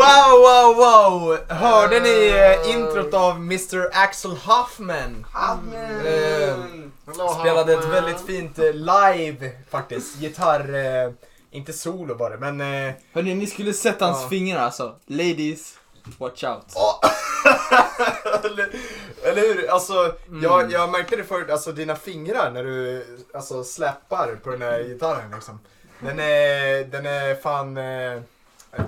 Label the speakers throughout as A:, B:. A: Wow, wow, wow! Hörde ni eh, introt av Mr Axel Huffman?
B: Amen.
A: Eh, Spelade ett väldigt fint eh, live faktiskt. Gitarr, eh, inte solo var det men... Eh,
C: Hörni, ni skulle sett hans
A: Ja.
C: fingrar alltså. Ladies, watch out.
A: eller, eller hur? Alltså, jag, jag märkte det förut, alltså dina fingrar när du alltså, släpar på den här gitarren liksom. Den är, den är fan... Eh,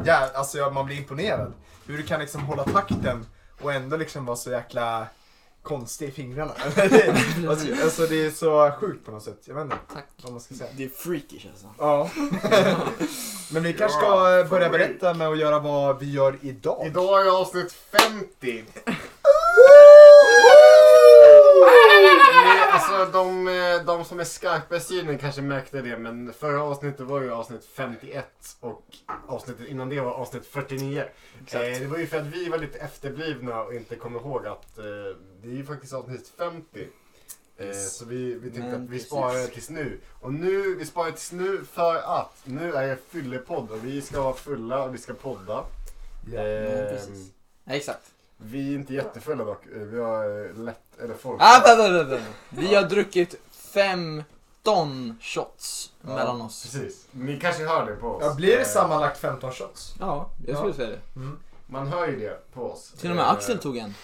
A: ja, alltså jag- man blir imponerad. Hur du kan liksom hålla takten och ändå liksom vara så jäkla konstig i fingrarna. alltså, alltså det är så sjukt på något sätt. Jag vet inte
C: Tack.
A: vad man ska säga.
C: Det är freakish alltså.
A: Ja. Men vi kanske ska eh, börja berätta med att göra vad vi gör idag.
B: Idag är avsnitt 50. Nej, Alltså de, eh, de som är skarpa i synen kanske märkte det men förra avsnittet var ju avsnitt 51 och avsnittet innan det var avsnitt 49. Eh, det var ju för att vi var lite efterblivna och inte kom ihåg att eh, det är ju faktiskt avsnitt 50. Eh,
C: Yes.
B: så vi, vi tänkte
C: Men
B: att vi
C: precis.
B: sparar det tills nu. Och nu, vi sparar det tills nu för att nu är det fyllepodd och vi ska vara fulla och vi ska podda.
C: men
B: Eh,
C: precis. Nej, exakt.
B: vi är inte jättefulla dock. Eh, Vi har eh, lätt, eller folk.
C: Ah, vänta, vänta, vänta. Vi har druckit 15 shots
A: Ja,
C: mellan oss.
B: Precis. Ni kanske hör det på oss.
A: Ja, blir det
B: Eh,
A: sammanlagt 15 shots?
C: Ja, jag skulle säga det.
B: Man hör ju det på oss.
C: Till och med
B: Eh,
C: Axel tog en.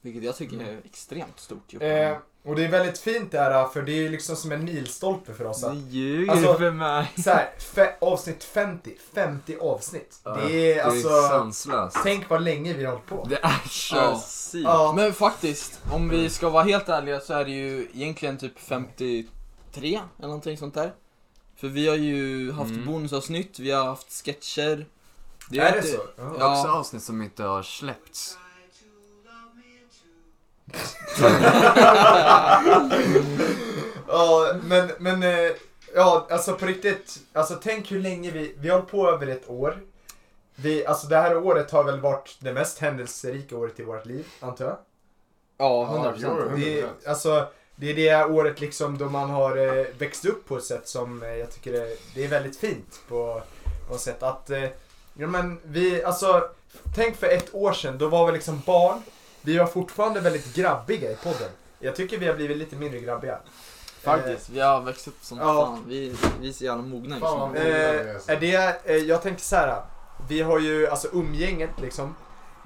C: Vilket jag tycker är extremt stort gjort.
A: Eh, och det är väldigt fint det här för det är ju liksom som en milstolpe för oss. att-
C: Ni ljuger
A: Alltså,
C: för mig.
A: Så här, fe, avsnitt 50, 50 avsnitt.
D: Ja,
A: Det är alltså,
D: sanslöst.
A: tänk vad länge vi har hållit på.
D: Det är så
C: Ja.
D: sykt.
A: Ja.
C: Men faktiskt, om
A: Mm.
C: vi ska vara helt ärliga så är det ju egentligen typ 53 eller någonting sånt där. För vi har ju haft
D: Mm.
C: bonusavsnitt, vi har haft sketcher.
A: Det
C: har
A: är det
C: inte-
A: så? Ja.
D: Det är Också
C: Ja,
D: avsnitt som inte har släppts.
A: Ja, men, men eh, ja, alltså på riktigt. Alltså tänk hur länge vi, vi har hållit på över ett år. Vi, alltså det här året har väl varit det mest händelserika året i vårt liv, antar jag.
C: ja
B: Ja,
C: 100 procent.
B: jo,
A: Det, är-
B: 100%.
A: alltså, det är det året liksom då man har eh, växt upp på ett sätt som eh, jag tycker är, det är väldigt fint på något sätt. Att, eh, ja, men vi, alltså, tänk för ett år sedan, då var vi liksom barn. Vi var fortfarande väldigt grabbiga i podden. Jag tycker vi har blivit lite mindre grabbiga. Eh,
C: Faktiskt, vi har växt upp som
A: Ja.
C: fan. Vi, vi är så jävla mogna liksom. just
B: Fan.
C: nu.
A: Eh, är det, eh, jag tänker så här. Vi har ju alltså umgänget liksom.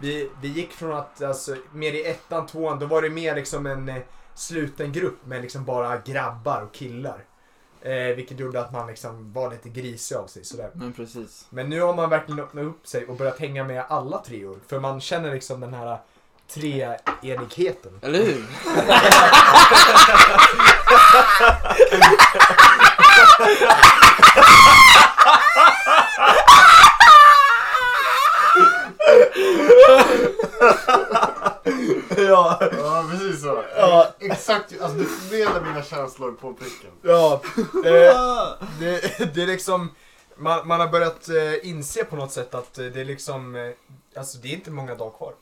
A: Vi, vi gick från att alltså, mer i ettan, tvåan, då var det mer liksom en eh, sluten grupp med liksom bara grabbar och killar. Eh, vilket gjorde att man liksom var lite grisig av sig sådär.
C: Men precis.
A: Men nu har man verkligen öppnat upp sig och börjat hänga med alla treor. För man känner liksom den här treenigheten.
C: Eller hur?
A: ja,
B: Ja, precis så.
A: Ja.
B: Exakt. Alltså, du förmedlar mina känslor på pricken.
A: ja. Eh, Det, det är liksom, man, man har börjat eh, inse på något sätt att eh, det är liksom, eh, alltså det är inte många dagar kvar.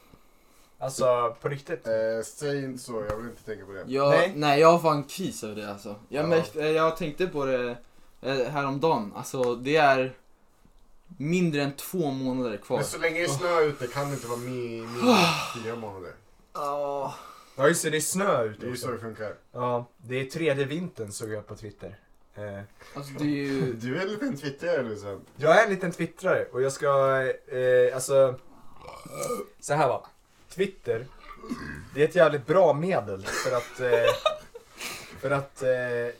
A: Alltså på riktigt.
B: Eh, säg inte så, jag vill inte tänka på det.
C: Jag,
A: Nej.
C: nej. jag har fan kris över det alltså. Jag,
B: Ja.
C: märkte, eh, jag tänkte på det eh, häromdagen, alltså det är mindre än två månader kvar.
B: Men så länge det är snö ute kan det inte vara med i min fyra månader.
C: Ja.
A: Ja just det, det är snö
B: Det
A: ute
B: är ju så
A: också.
B: det funkar.
A: Ja, det är tredje vintern såg jag på Twitter. Eh,
C: Alltså det är ju...
B: Du är en liten twittrare nu sen.
A: jag är en liten twittrare och jag ska, eh, alltså, så här va. Twitter, det är ett jävligt bra medel för att, eh, för att, eh,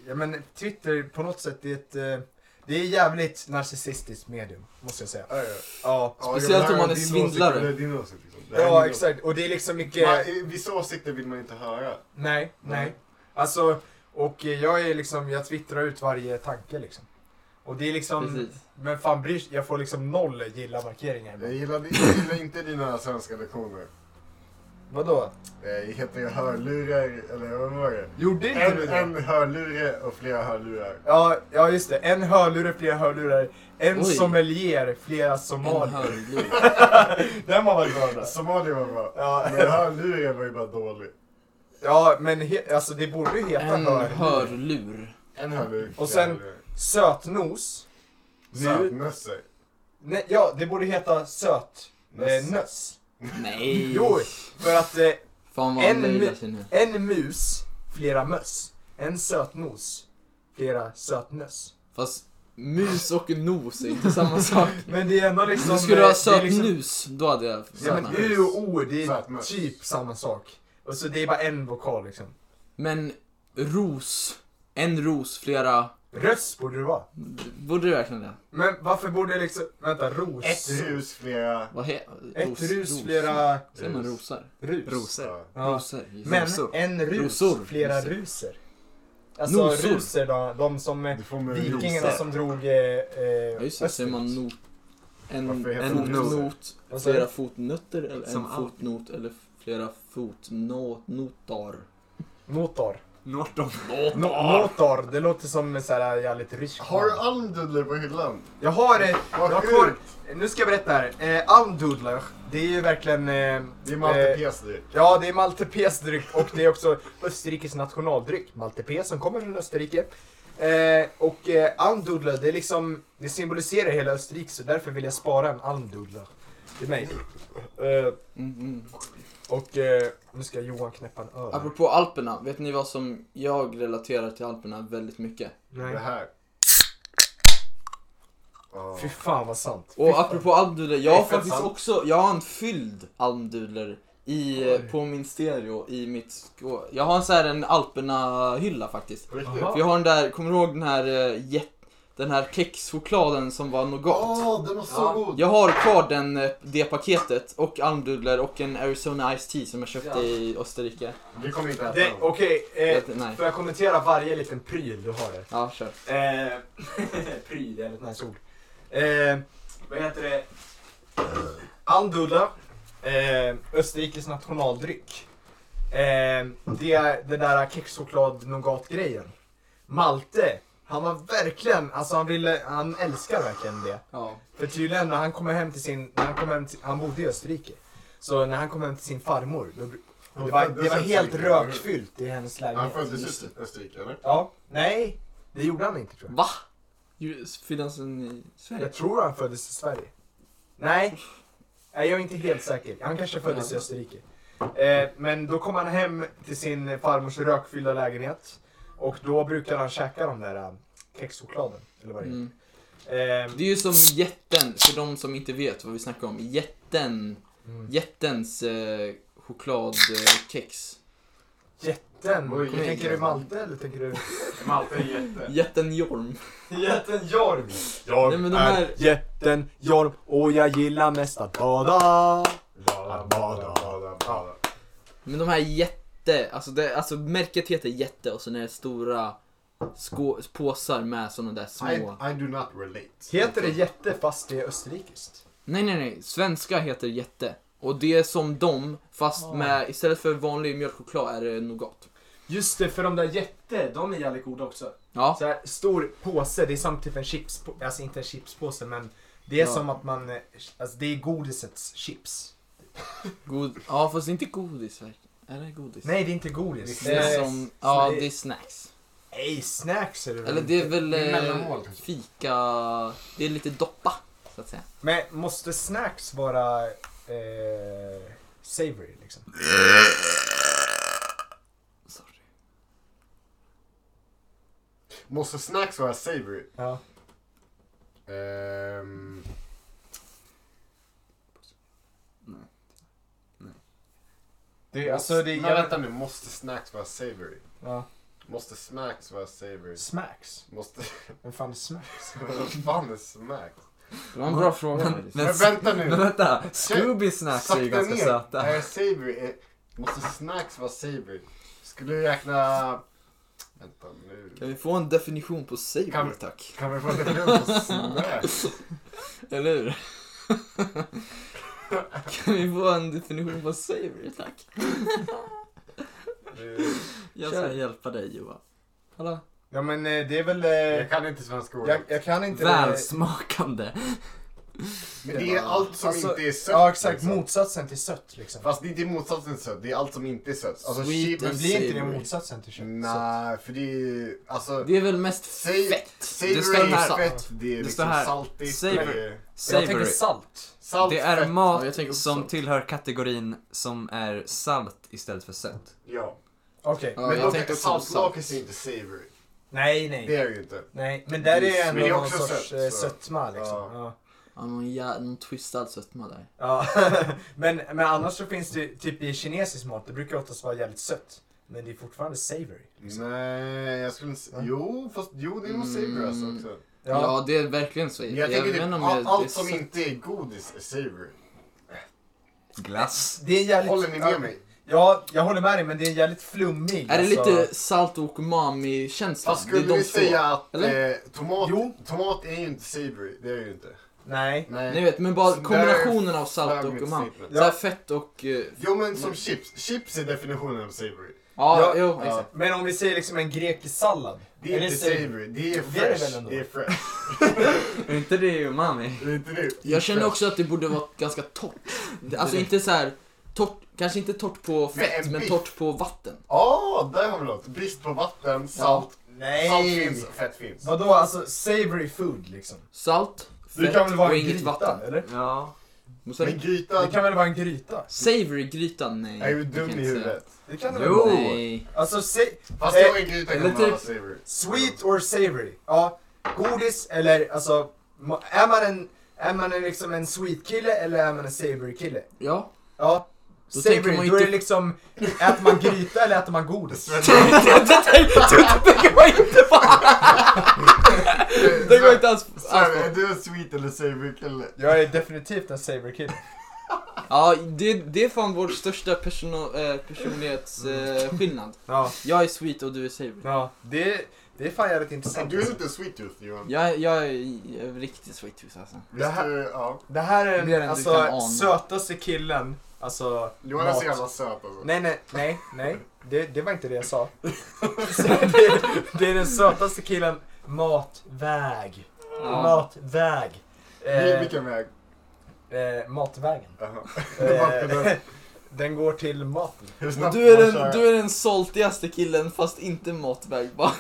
A: ja men Twitter på något sätt det är ett, eh, det är jävligt narcissistiskt medium, måste jag säga.
B: Ja, ja.
A: Ja,
B: Ja, jag
C: Speciellt
B: vill
C: om
B: höra
C: man är
B: din
C: svindlare.
B: åsikt, eller din åsikt, liksom. Det här är
A: ja
B: din
A: exakt. Och det är liksom mycket...
B: åsikt. Man, eh, vissa åsikter vill man inte höra.
A: Nej, nej. Alltså, och eh, jag är liksom, jag twittrar ut varje tanke liksom. Och det är liksom,
C: Precis.
A: men fan bryr sig- jag får liksom noll gilla-markeringar.
B: Jag gillar, jag gillar inte dina svenska lektioner.
A: Vadå?
B: Eh, heter det hörlurar, eller vad var det?
A: Gjorde inte du
B: En,
A: det?
B: en hörlure och flera hörlurar.
A: Ja, ja just det. En hörlurar, flera hörlurar. En
C: Oj.
A: sommelier, flera
C: En
A: somalier.
C: hörlur.
A: Den var väl bra? då?
B: Somalia var bra.
A: Ja,
B: Men hörluren var ju bara dålig.
A: ja, men he- alltså det borde ju heta
C: En
A: hörlurar.
C: hörlur.
B: En hörlur.
A: Och sen- Sötnos. Nu,
B: Sötmössor.
A: nej, ja, det borde heta söt eh,
B: Möss.
A: nöss.
C: Nej!
A: Jo, för att eh,
C: Fan vad
A: en
C: han
A: mi-
C: lurar sig nu.
A: en mus, flera möss. En sötnos, flera sötnöss.
C: Fast mus och nos är inte samma sak.
A: Men det är ändå liksom...
C: Då skulle du ha
A: eh, det är liksom-
C: sötnus, då hade jag
A: Ja,
C: sötnat.
A: men U och O, det är
B: Sötmöss.
A: typ samma sak. Och så det är bara en vokal liksom.
C: Men ros, en ros, flera...
A: Röss borde det vara.
C: Borde du verkligen det?
A: Men varför borde det liksom, vänta, ros?
B: Ett hus, flera...
C: Vad he...
A: Ett rus, flera
C: Säger man rosar?
A: rus.
D: Rosor.
A: Ja.
C: Rosor.
A: Men
D: Rosor.
A: en rus,
C: Rosor.
A: flera
C: Rosor.
A: ruser. Alltså
C: Nosor.
A: ruser då, de som, eh,
B: Du får med
A: vikingarna
D: rosor.
A: som drog eh, eh,
C: Ja just det, säger man
A: österut.
C: not. En,
B: Varför heter
C: en
D: det noser?
C: fotnot,
A: Vad sa
C: flera
A: du?
C: fotnötter eller en
D: Som allt.
C: fotnot eller flera fotnotar.
A: Notar.
D: Norton.
A: No- Notar, det låter som så här jävligt ryskt.
B: Har du almdudler på hyllan?
A: Jag har, eh, jag
B: Vad
A: har kvar, nu ska jag berätta här. Eh, Almdudler, det är ju verkligen... Eh,
B: Det är
A: eh,
B: maltepes dyrt.
A: Ja, det är maltepes dryck och det är också Österrikes nationaldryck. Maltepes som kommer från Österrike. Eh, och eh, almdudler, det, är liksom, det symboliserar hela Österrike så därför vill jag spara en almdudler till mig. Eh,
C: Mm-mm.
A: och eh, nu ska Johan knäppa en öl.
C: Apropå Alperna, vet ni vad som jag relaterar till Alperna väldigt mycket?
B: Det
A: Nej.
B: här. Ja.
A: Fy fan vad sant. Fy
C: Och
A: fan.
C: apropå almdudlar, jag har
A: Fy fan.
C: faktiskt också, jag har en fylld almdudler i, eh,
A: Oj.
C: på min stereo i mitt skå. Jag har en sån här en Alperna-hylla faktiskt.
B: På riktigt?
A: Jaha.
C: För jag har den där, kommer du ihåg den här eh, jätt, den här kexchokladen som var nougat?
B: Åh, den var så
D: Ja.
B: god!
C: Jag har kvar den, eh, det paketet och almdudlar och en Arizona Ice Tea som jag köpte
D: Ja.
C: i Österrike.
A: Eh.
B: Vi kommer inte äta
A: Det-
B: den.
A: Okej, eh,
C: Jag vet- Nej.
A: får jag kommentera varje liten pryl du har där?
C: Ja, kör.
A: Eh, pryl är ett nice ord. Eh, vad heter det? Andudla. Eh, Österrikes nationaldryck. Eh, det är den där kexchoklad nougat grejen Malte, han var verkligen, alltså han ville, han älskar verkligen det.
C: Ja.
A: För tydligen när han kom hem till sin, när han kom hem till, han bodde i Österrike. Så när han kom hem till sin farmor, då, det, var, det var helt rökfyllt i hennes
B: Han
A: lägenhet.
B: föddes i Österrike, eller?
A: Ja, nej, det gjorde han inte tror jag.
C: Va? Ju- Föddes den i Sverige?
A: Jag tror han föddes i Sverige. Nej, Nej, jag är inte helt säker. Han kanske föddes i Österrike. Eh, men då kom han hem till sin farmors rökfyllda lägenhet. Och då brukade han käka de där eh, kexchokladen. Eller vad det
C: Mm.
A: är. Eh,
C: Det är ju som jätten, för de som inte vet vad vi snackar om. Jätten,
A: mm.
C: jättens eh, chokladkex.
A: Jätten.
B: Oj,
A: tänker
C: jätten.
A: du Malte eller tänker du?
B: Malte är jätte.
C: Jätten Jorm.
A: Jätten Jorm. Jag
C: Nej, men de är här-
A: jätten Jorm och jag gillar mest att bada.
B: Bada, bada, bada, bada.
C: Men de här jätte, alltså, det, alltså märket heter jätte och sen är det stora skå, påsar med sådana där små.
B: I, I do not relate.
A: Heter det jätte fast det är österrikiskt?
C: Nej, nej, nej. Svenska heter jätte. Och det är som dem, fast
A: Ah.
C: med, istället för vanlig mjölkchoklad är det nougat.
A: Just det, för de där jätte, de är jävligt goda också.
C: Ja.
A: Så här, stor påse, det är som typ en chips, alltså inte en chipspåse men det är
C: Ja.
A: som att man, eh, alltså det är godisets chips.
C: God, ja, fast inte godis verkligen. Är det godis?
A: Nej det är inte godis.
C: Det är som, ja,
A: Nej.
C: det är snacks.
A: Nej, snacks är det väl
C: Eller det är
A: inte.
C: väl
B: Det är
C: eh,
B: mellanmål, kanske.
C: fika, det är lite doppa, så att säga.
A: Men måste snacks vara eh, savory liksom?
C: Sorry.
B: Måste snacks vara savory?
A: Ja.
B: Ehm,
A: Det, är- alltså det är
B: Men
A: jävligt...
B: vänta nu, måste snacks vara savory?
A: Ja.
B: Måste snacks vara savory?
A: Smacks?
B: Måste...
A: Vem fan är smacks?
B: Vad fan är snacks?
C: Det var en bra fråga. Men,
B: Men vänta nu!
D: Men vänta, Scooby Snacks är ju
B: Sakta
D: ganska
B: ner.
D: söta.
B: Är savory? Är, måste snacks vara savory? Skulle du räkna... Vänta
C: kan
B: nu.
C: vi få en definition på
B: Kan
C: savory
B: vi-
C: tack?
B: Kan vi få lite lugn på snacks?
C: Eller hur? kan vi få en definition på savory tack?
B: Det-
C: Jag
A: Kör.
C: ska hjälpa dig Johan. Hallå?
A: Ja men eh, det är väl... eh,
B: Jag kan inte svenska ord.
A: jag, jag kan inte...
D: Välsmakande.
B: Men det är allt som
A: Alltså,
B: inte är sött.
A: Ja exakt,
B: liksom.
A: motsatsen till sött liksom.
B: Fast det är inte motsatsen till sött, det är allt som inte är sött. Alltså
C: Sweet
B: chips...
C: and
A: Men blir inte det
C: savory.
A: motsatsen till kött?
B: Nej, för det är ju... Alltså...
C: Det är väl mest
B: Säg,
C: fett?
B: Savory
C: det står
B: är
C: här.
B: fett, det är
D: Det står
B: liksom
D: här.
B: saltigt.
D: Savory.
B: Det är
D: Jag tänker
C: Savory.
D: salt.
B: salt,
D: Det är
B: fett.
C: Ja, jag
D: mat
C: tänker också
D: som
C: salt.
D: tillhör kategorin som är salt istället för sött.
B: Ja.
A: Okej.
C: Ja,
B: Men
C: jag
B: dock,
C: tänkte också på salt.
B: saltlakris är inte savory.
A: Nej,
B: Det
A: nej.
B: är det ju inte.
A: Nej, men där
B: Precis.
A: är
B: Men det är
A: ändå någon
B: också
A: sorts
B: sött,
A: eh,
B: så.
A: sötma liksom. Ja.
C: Ja, någon, ja, någon twistad sötma där.
A: Ja. men, men annars så finns det typ i kinesisk mat, det brukar oftast vara jävligt sött. Men det är fortfarande savory.
B: Nej, jag skulle inte...
A: Va?
B: säga... Jo, fast jo, det är nog savory alltså
C: Mm.
B: också.
C: Ja, det är verkligen så.
B: Men jag tänker typ,
C: vet inte om
B: all,
C: jag- det är
B: allt som
C: sött.
B: inte är godis är savory.
D: Glass.
A: Det är en jävligt...
B: Håller ni
A: ja,
B: med mig?
A: Ja, jag håller med dig men det är en jävligt flummig.
C: Är det
A: alltså.
C: lite salt och umami-känsla?
B: Fast
C: Det är
B: skulle
C: de
B: vi
C: två.
B: säga att
C: eller?
B: eh, tomat,
A: Jo.
B: tomat är ju inte savory, det är det ju inte.
A: Nej.
C: Ni vet, men bara
B: Så där
C: kombinationen av salt
B: fram
C: och
B: mitt
C: umami.
B: statement.
A: Ja.
C: Såhär fett och... eh,
B: Jo men som chips, chips är definitionen av savory.
C: Ja,
A: Ja.
C: jo.
B: Ja.
C: exakt.
A: Men om vi säger liksom en grekisk sallad.
B: Det är inte savory, det
A: Det
B: är
A: är det väl
B: fresh.
A: ändå.
B: Det är fresh.
D: Är inte det umami?
B: Det är inte det.
C: Jag känner också att det borde vara ganska torrt. Alltså inte så här torrt, kanske inte torrt på fett,
B: en
C: men
B: biff.
C: torrt på vatten.
B: Ja, där har vi något. Brist på vatten, salt. Salt
A: Nej!
B: finns, fett finns.
A: Vadå alltså savory food liksom?
C: Salt,
A: Det kan
C: fett
A: väl vara
C: och
A: en
C: inget
A: gryta
C: vatten.
A: eller?
D: Ja.
C: Och sen-
B: Men gryta,
A: Det kan väl vara en gryta?
C: Savory-grytan, nej.
B: är ju
C: det
B: dum
C: kan jag inte
B: i huvudet.
A: Det kan det
D: Jo!
A: väl?
C: Nej.
A: Alltså sa-
B: Fast jag är en gryta
D: eller
B: kan vara
D: typ
B: savory.
A: sweet or savory? Ja, godis eller alltså, ma- är man en, är man en, liksom en sweet kille eller är man en savory kille?
C: Ja.
A: Ja.
C: Då
A: savory,
C: tänker man
A: då är det
C: inte-
A: liksom, äter man gryta eller äter man godis?
C: det var inte fan! Det går inte alls alls
B: Sverige,
C: på.
B: Är du en sweet eller savory kille?
A: Jag är definitivt en savory kille.
C: Ja, det, det är fan vår största persono, eh, personlighetsskillnad.
A: Ja,
C: jag är sweet och du är savory.
A: ja. Det, det är fan jävligt
B: Nej,
A: intressant.
B: Du är inte en sweet tooth Johan.
C: Jag, är- jag är eh, riktigt sweet tooth alltså.
A: Det
B: Visst
A: här-
B: du, ja.
A: Det här är
C: Mer än
A: den
C: du
A: alltså,
C: kan ana.
A: sötaste killen, alltså
B: Johan är så
A: mat.
B: jävla söt alltså.
A: Nej, nej, nej, nej. Det, det var inte det jag sa. Så det, det är den sötaste killen, matväg.
C: Ja.
A: Matväg.
B: Vi-
A: Eh,
B: Vilken väg?
A: eh, matvägen.
B: Jaha.
A: Eh, den går till maten.
B: Hur
C: Men
B: snabbt
C: Du är,
B: får man köra?
C: den, du är den soltigaste killen fast inte matväg bara.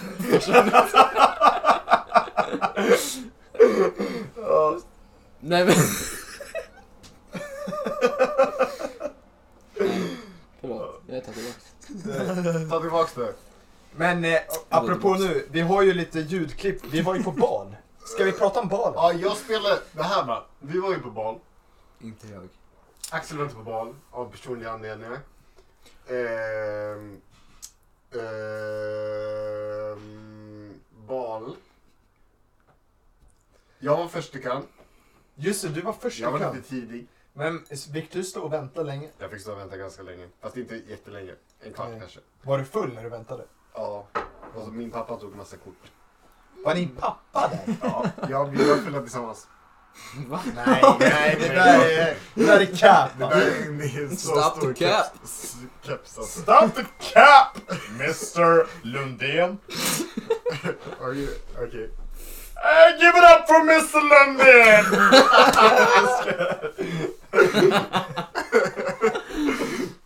C: Nej men... Nej, Förlåt, jag tar tillbaka.
B: Ta tillbaks det.
A: Men eh, apropå nu, vi har ju lite ljudklipp. Vi var ju på bal. Ska vi prata om bal?
B: Ja, jag spelade det här va. Vi var ju på bal.
D: Inte jag.
B: Axel var inte på bal av personliga anledningar. Ehm, ehm, bal. Jag var förstekan.
A: Just det, du var
B: Jag
A: första
B: var
A: kön.
B: lite tidig.
A: Men fick du stå och vänta länge?
B: Jag fick stå och vänta ganska länge. Fast inte jättelänge. En kvart
A: Nej.
B: kanske.
A: Var du full när du väntade?
B: Ja. Och så min pappa tog massa kort.
A: Var din pappa där?
B: Ja, jag, vi var fulla tillsammans.
C: Va?
A: Nej,
B: Nej, det där är...
A: det där är cap.
B: Det där är en- det är en så
C: Stop the
B: stor
C: cap.
B: keps- keps alltså.
A: Stop the cap, Mr Lundén.
B: Are you- Okej.
A: Uh, give it up for Mr Lundén!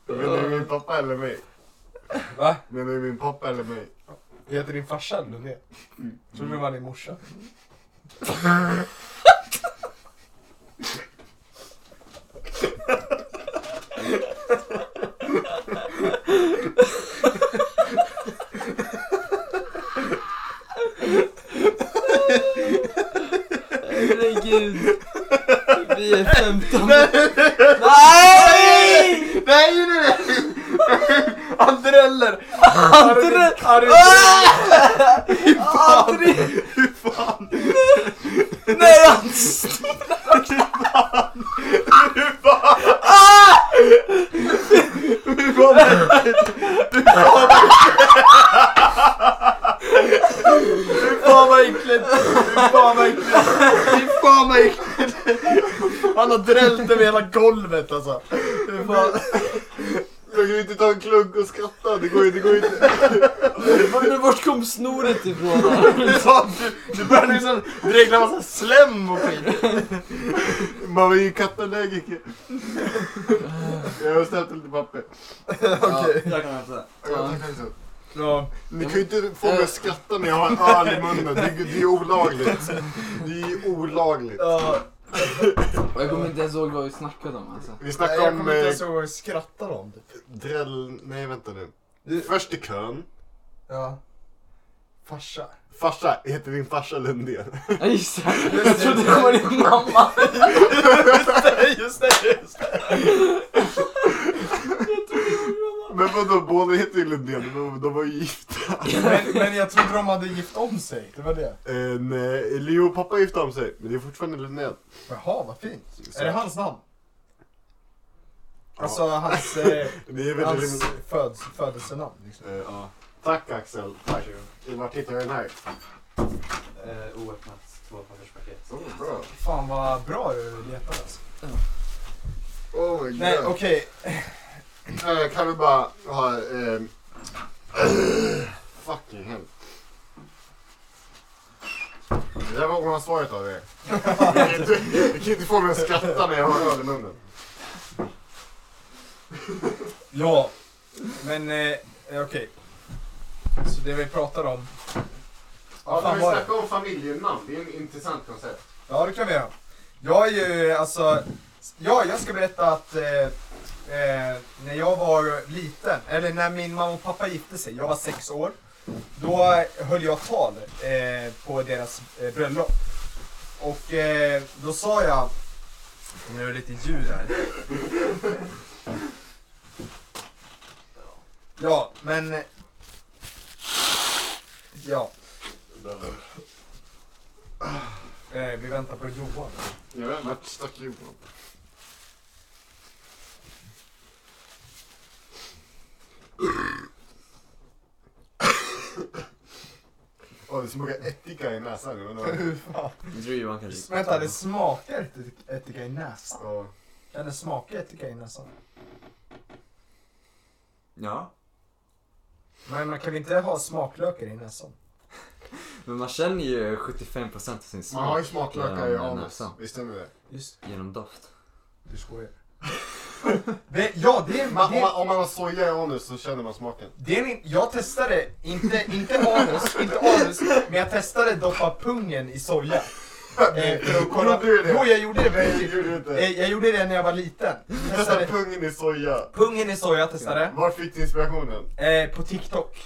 B: Menar du min pappa eller mig?
A: Va?
B: Menar du min pappa eller mig?
A: Heter din farsa Lundén? Tror du det var din morsa?
C: Herregud. Vi är 15 Nej!
A: Nej nu! Andreller!
C: Andreller!
A: Harry-
C: Aldrig! Hur fan? Nej, han
A: Fan vad äckligt! Fy Fan vad äckligt! Fy Fan vad äckligt! Han har drällt över hela golvet alltså. Fy Fan.
B: Jag kan ju inte ta en klunk och skratta, det går ju det går ju inte.
C: Men vart kom snoret ifrån?
A: Du, du börjar liksom dregla massa slem och skit.
B: Man var ju kattallergiker. Jag har ställt lite papper.
A: Okej.
E: Jag kan hämta.
F: Ja.
B: Tack, tack, tack.
A: Ja.
B: Ni kan ju inte få mig att skratta när jag har en öl i munnen. Det är, det är olagligt. Det är ju olagligt.
A: ja.
F: Och jag kommer inte ens ihåg vad vi snackade om alltså.
B: Vi
A: Nej,
B: snackar
A: jag
B: om
A: kommer inte
B: eh,
A: ens ihåg vad vi skrattade om. typ.
B: dräll... Nej, vänta nu.
A: Du-
B: Först i kön.
A: Ja. Farsa.
B: Farsa, heter din farsa Lundén?
F: Ja just det, jag trodde det var din mamma.
A: Just det, just det.
B: Men vadå, båda heter ju Lundén. De, de var ju gifta.
A: Men, men jag trodde de hade gift om sig. Det var det.
B: Eh, nej, Leo och pappa gifte om sig, men det är fortfarande Lundén.
A: Jaha, vad fint.
B: Så-
A: Är det hans namn? Alltså hans, eh,
B: Det är väl
A: hans föds, födelsenamn. Liksom.
B: Eh, ja. Tack Axel. Tack. Vart hittar jag den här?
E: Eh, Oöppnat tvåpapperspaket.
B: Oh, bra.
A: Fan vad bra du letar alltså.
B: Oh my god.
A: Nej okej,
B: Eh, kan vi bara ha... Eh, fucking hell. Det där var oansvarigt av er. Jag kan inte- Jag kan inte få mig att skratta när jag har öl i munnen.
A: Ja, men eh, okej. Så det vi pratade om.
B: Ja,
A: Vad
B: kan
A: fan
B: vi
A: var
B: snacka om familjenamn? Det är en intressant koncept.
A: Ja, det kan vi göra. Jag är ju alltså, ja, jag ska berätta att eh, eh, när jag var liten, eller när min mamma och pappa gifte sig, jag var sex år. Då höll jag tal eh, på deras eh, bröllop. Och eh, då sa jag, nu är det lite ljud här. Ja, men... Ja, eh, vi väntar på Johan.
B: Jag vet inte, vart stack Johan? Åh, det smakar ättika i näsan. Jag vet inte
A: Hur fan?
E: Jag tror Johan kanske...
A: Vänta, det smakar ättik- ättika i näsan.
B: vad- Ja.
A: Kan det smaka ättika i näsan?
E: Ja.
A: Men man kan vi inte ha smaklökar i näsan?
E: Men man känner ju 75% av sin smak.
B: Man har ju smaklökar i
E: genom
B: anus.
E: näsan.
B: Visst stämmer det?
A: Just
E: Genom doft.
A: Du skojar. det, ja, det är...
B: Man, om,
A: det,
B: man, om man har soja i anus så känner man smaken.
A: det är min, jag testade, inte, inte anus, inte anus, men jag testade doppa pungen i soja. Eh, för att kolla-
B: Gjorde du det?
A: Jo, jag gjorde det.
B: Nej,
A: men-
B: det gjorde du inte.
A: Eh, Jag gjorde det när jag var liten.
B: Testa
A: Testade.
B: pungen i soja.
A: Pungen i soja testade.
B: Var fick du inspirationen?
A: Eh, på TikTok.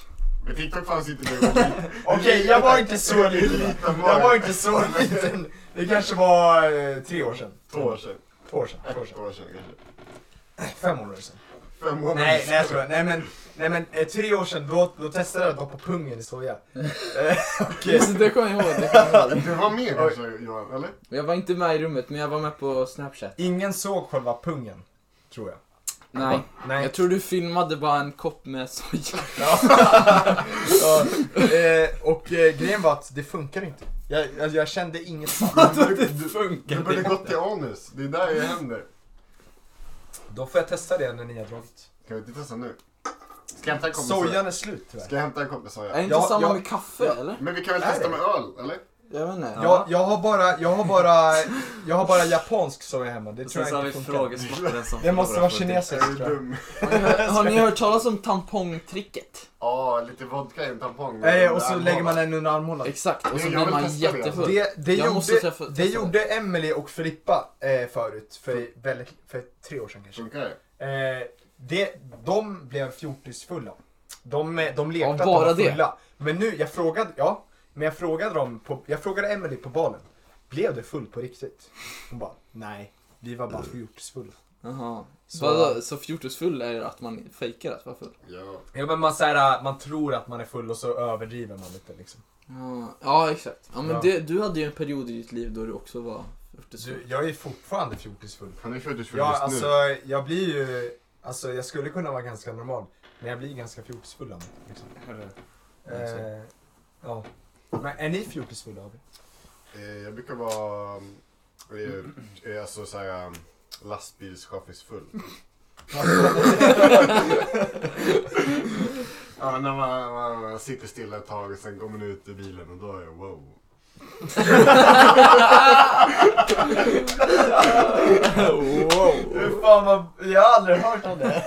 B: Men TikTok fanns inte när jag var liten.
A: Okej, jag var inte så liten. Jag var inte så liten. Det kanske var eh, tre år sedan.
B: Två år sedan.
A: Två år sedan.
B: Ett
A: Två år sedan.
B: år sedan kanske.
A: Fem år sedan.
B: Fem månader
A: Nej, nej jag skojar. Nej men, nej, men eh, tre år sedan då, då testade jag att doppa pungen i soja. Eh, Okej.
F: Just det, det kommer jag ihåg. Det kommer jag, ihåg.
B: Du var med kanske Johan, eller?
F: jag var inte med i rummet men jag var med på snapchat.
A: Ingen såg själva pungen, tror jag.
F: Nej,
A: Nej.
F: jag tror du filmade bara en kopp med soja.
A: Ja. Ja, eh, och eh, grejen var att det funkar inte. Jag, jag, jag kände inget salt.
B: Du borde gått till anus, det är där det händer.
A: Då får jag testa det när ni har dragit.
B: Kan vi inte testa nu? Ska jag hämta en kompis?
A: Sojan är slut tyvärr.
B: Ska jag hämta en kompis
F: Är det
B: soja?
F: inte
A: Ja,
F: samma
A: ja.
F: med kaffe eller?
B: Men vi kan väl
A: Är
B: testa
A: det?
B: med öl, eller?
F: Jag vet inte.
A: Jag, jag har bara, jag har bara, jag har bara japansk soja hemma. Det
E: Och
A: tror
E: sen så har
A: jag
E: vi
A: inte funkar.
E: frågesmatta den som
A: Det måste
E: förlorar
A: vara
E: får
A: kinesiskt
B: Är
E: ett
A: tror
B: du
A: jag.
B: dum?
F: Har ni- Har ni hört talas om tampongtricket?
B: Ja, lite vodka i en tampong. Äh,
A: Nej, och så lägger man den under armhålan.
F: Exakt, och så
B: Jag
F: blir
B: vill
F: man
B: testa det.
F: jättefull.
A: Det, det,
F: Jag måste
A: gjorde,
F: träffa- testa Mm.
A: det gjorde Emily och Filippa eh, förut, för, väldigt, för tre år sedan kanske.
B: Funkar det?
A: Eh, det, de blev fjortisfulla. De, eh, de lekte
F: Ja,
A: att de
F: bara
A: var
F: det.
A: fulla. Men nu, jag frågade, ja, men jag frågade dem, på, jag frågade Emily på balen. Blev du full på riktigt? Hon bara, nej, vi var bara fjortisfulla.
F: Jaha.
A: Så-
F: Så, Mm. Vadå, så fjortisfull är att man fejkar att vara full?
B: Ja.
A: Ja men man, så här, man tror att man är full och så överdriver man lite liksom.
F: Ja, ja exakt. Ja, men
A: Ja.
F: Det, du hade ju en period i ditt liv då du också var
A: Du,
F: fjortisfull.
A: jag är fortfarande fjortisfull.
B: Han är fjortisfull
A: Ja,
B: just
A: alltså
B: nu.
A: jag blir ju... Alltså jag skulle kunna vara ganska normal, men jag blir ganska fjortisfull av mig, liksom. eh, Ja. Men är ni fjortisfulla av er?
B: Eh, Jag brukar vara... eh, eh, Alltså såhär... um, Lastbilschaffisfull. Ja, när man, man, man sitter stilla ett tag och sen går man ut ur bilen och då är jag wow.
A: Hur fan man, jag har aldrig hört om det.